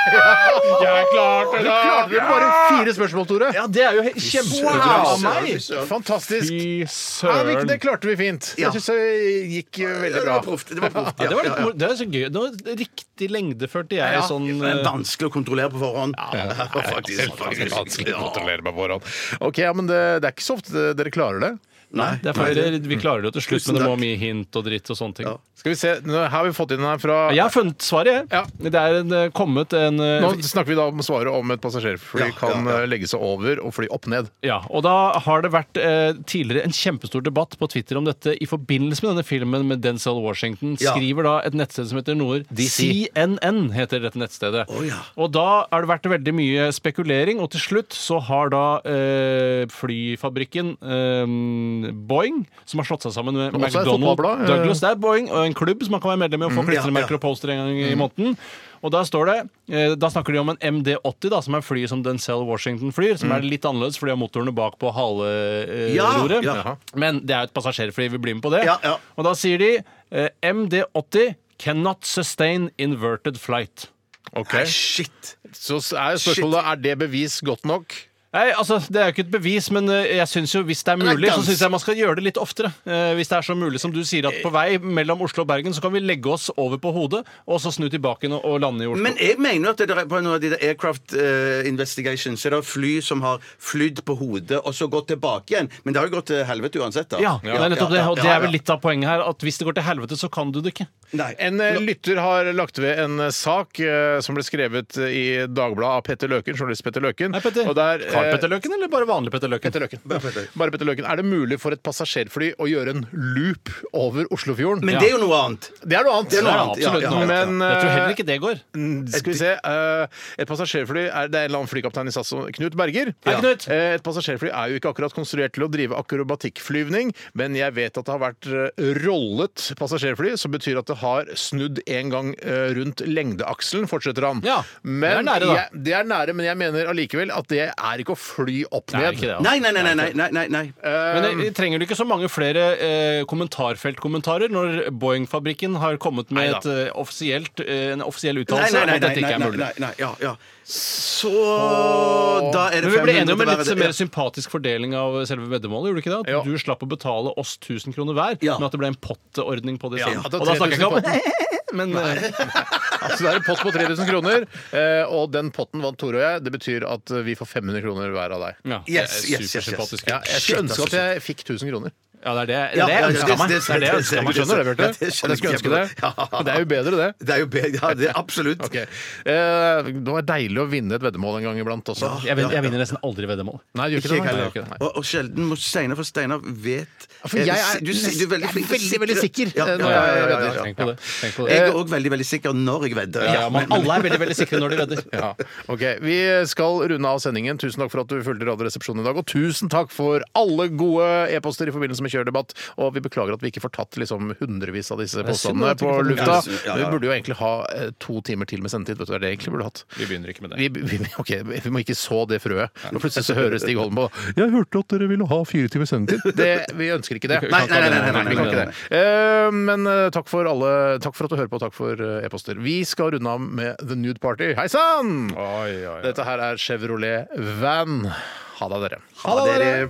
Jeg klarte
Du klarte vel bare fire spørsmål, Tore.
Ja, det er jo he- kjempebra av
Wow.
meg.
Fantastisk.
Fy
Ja, vi-
søren.
det klarte vi fint.
Ja.
Jeg syns det gikk eh, veldig
Det
bra.
var proft. Det var proft.
Ja, det var litt
ja, ja.
mor- det er så gøy. Det var riktig lengde førte jeg
Ja.
sånn
Men
eh,
vanskelig å kontrollere på forhånd.
Selvfølgelig vanskelig å kontrollere meg på forhånd. Ok, ja, men det, det er ikke så ofte dere klarer det.
Nei, eh, det er feil.
Nei,
Vi klarer det jo til slutt,
Tusen
men det må
takk.
mye hint og dritt og sånne ting.
Ja.
Skal vi se, nå her har vi fått inn den her fra
Jeg har funnet svaret, jeg.
Ja.
Det er en, eh, kommet en eh,
Nå snakker vi da om svaret om et passasjerfly
Ja,
kan
ja, ja.
eh, legge seg over og fly opp ned.
Ja, og da har det vært eh, tidligere en kjempestor debatt på Twitter om dette i forbindelse med denne filmen med Denzel Washington.
Ja.
Skriver da et nettsted som heter Noer.
DC.
CNN heter dette nettstedet.
Å, ja.
Og da har det vært veldig mye spekulering, og til slutt så har da eh, flyfabrikken eh, Boeing, som har slått seg sammen med
Som også er et
McDonald
fotballblad, eh.
Douglas. Det er Boeing og en klubb som man kan være medlem i og få klistremerker
Mm, ja. Mm.
og poster en gang i måneden. Og da står det, eh, da snakker de om en MD-80, da, som er flyet som Denzel Washington flyr, som er litt annerledes fordi har motorene bak på haleroret.
Mm. Ja,
roret.
ja.
Men det er jo et passasjerfly, vi blir med på det.
Ja, ja.
Og da sier de eh, MD-80 cannot sustain inverted flight.
Ok.
Shit!
Så er spørsmålet er det bevis godt nok.
Nei, altså, Det er jo ikke et bevis, men eh, jeg synes jo hvis det er
det er
mulig, så
gans-
syns jeg man skal gjøre det litt oftere. Eh, Hvis det er så mulig som du sier, at på vei mellom Oslo og Bergen så kan vi legge oss over på hodet, og så snu tilbake igjen og- og lande i Oslo.
Men jeg mener at det der, på noen av de der aircraft eh, investigations så er det fly som har flydd på hodet og så gått tilbake igjen. Men det har jo gått til helvete uansett, da.
ja, det er nettopp det, og det er vel
ja.
litt av poenget her, at hvis det går til helvete, så kan du det ikke.
Nei.
En eh, lytter har lagt ved en eh, sak eh, som ble skrevet eh, i Dagbladet av Petter Løken, journalist Petter Løken.
Nei, Petter.
Og der, eh,
Carl Petter Løken, eller bare vanlig Petter Løken?
Petter Løken. Bare Petter Løken. Er det mulig for et passasjerfly å gjøre en loop over Oslofjorden?
Men det er jo noe annet.
Det er noe annet.
Det er noe
Ja,
annet,
absolutt.
ja, ja, ja.
Men,
jeg tror
eh,
heller ikke det går.
Mm, Skal vi se eh, Et passasjerfly er, Det er en eller annen flykaptein i SAS, som- Knut Berger.
Hei, Knut.
Eh, Et passasjerfly er jo ikke akkurat konstruert til å drive akrobatikkflyvning, men jeg vet at det har vært eh, rollet passasjerfly, som betyr at det har snudd en gang eh, rundt lengdeakselen, fortsetter han.
Ja,
men
det er nære, da.
Jeg, det er nære, men jeg mener allikevel at det er ikke å fly opp
Nei,
ned.
ikke det, altså.
Nei, nei, nei. nei, nei, nei, nei, nei.
Men jeg, jeg trenger du ikke så mange flere eh, kommentarfeltkommentarer når Boeing-fabrikken har kommet med
Neida.
et, eh, offisielt, eh, en offisiell
Nei,
uttalelse
nei,
om
nei,
at
nei,
dette
nei,
ikke er
nei,
mulig?
nei, nei, ja, ja. Så Da er det
Men vi ble
500
enige om en
til
litt
hver-
mer sympatisk fordeling av selve veddemålet. gjorde du ikke det?
Jo.
At du slapp å betale oss 1000 kroner hver,
Ja.
men at det ble en potteordning på det
Ja,
senere.
at det er
Og da snakker jeg ikke
3000
om men, eh,
Altså, det er en pott på 3000 kroner, eh, og den potten vant Tore og jeg. Det betyr at eh, vi får 500 kroner hver av deg.
ja, altså.
Yes,
det er
yes, yes, yes.
supersympatisk.
Ja, jeg skulle ønske at jeg fikk 1000 kroner.
Ja, det er det, det,
Ja,
er det jeg
ja,
ønska meg. Det er det jeg ønsker
Ja, man
meg.
skjønner det, Bjarte.
Ja, det skjønner
jeg skulle
jeg
ønske det.
kjempegodt. Ja.
Men det er jo bedre, det.
Det er jo bedre. Ja, det er absolutt.
Ok. Eh, det var deilig å vinne et veddemål en gang iblant også.
Jeg, vin- jeg vinner nesten aldri veddemål.
Nei, det gjør ikke det. nei. Nei,
Ikke jeg heller.
det gjør ikke det.
Og, og sjelden må Steinar, for Steinar vet Eh,
for jeg er
du, sier- du er
nesten-
veldig flink
jeg er veldig,
til å
veldig
sikre.
sikker,
Ja,
eh, når
ja, ja,
jeg
ja, ja,
vedder.
ja.
Tenk på det. Tenk på det.
Jeg er òg veldig veldig sikker når jeg vedder.
Ja, men alle er veldig veldig sikre når de vedder.
Ja. Ok, Vi skal runde av sendingen. Tusen takk for at du fulgte Radioresepsjonen i dag. Og tusen takk for alle gode e-poster i forbindelse med kjørdebatt. Og vi beklager at vi ikke får tatt liksom hundrevis av disse
er synd
påstandene
at vi
på
ikke får
lufta.
tatt
det. Ja, ja,
Men
ja.
Vi burde jo egentlig ha eh, to timer til med sendetid. Vet du, det er det jeg egentlig burde hatt.
Vi begynner ikke med det.
Vi, vi, ok, vi må ikke så det frøet. Og plutselig så hører Stig Holm på 'Jeg hørte at dere ville ha fire timer sendetid'. Det, vi ønsker ikke det.
Vi
Nei, nei, nei, nei, nei,
Vi kan
nei,
ikke
nei,
det. Eh, Men eh, takk for alle Takk for at du hører på, og takk for eh, e-poster. Vi skal runde av med The Nude Party. Hei sann! Dette her er Chevrolet Van. Ha det, dere.
Ha dere.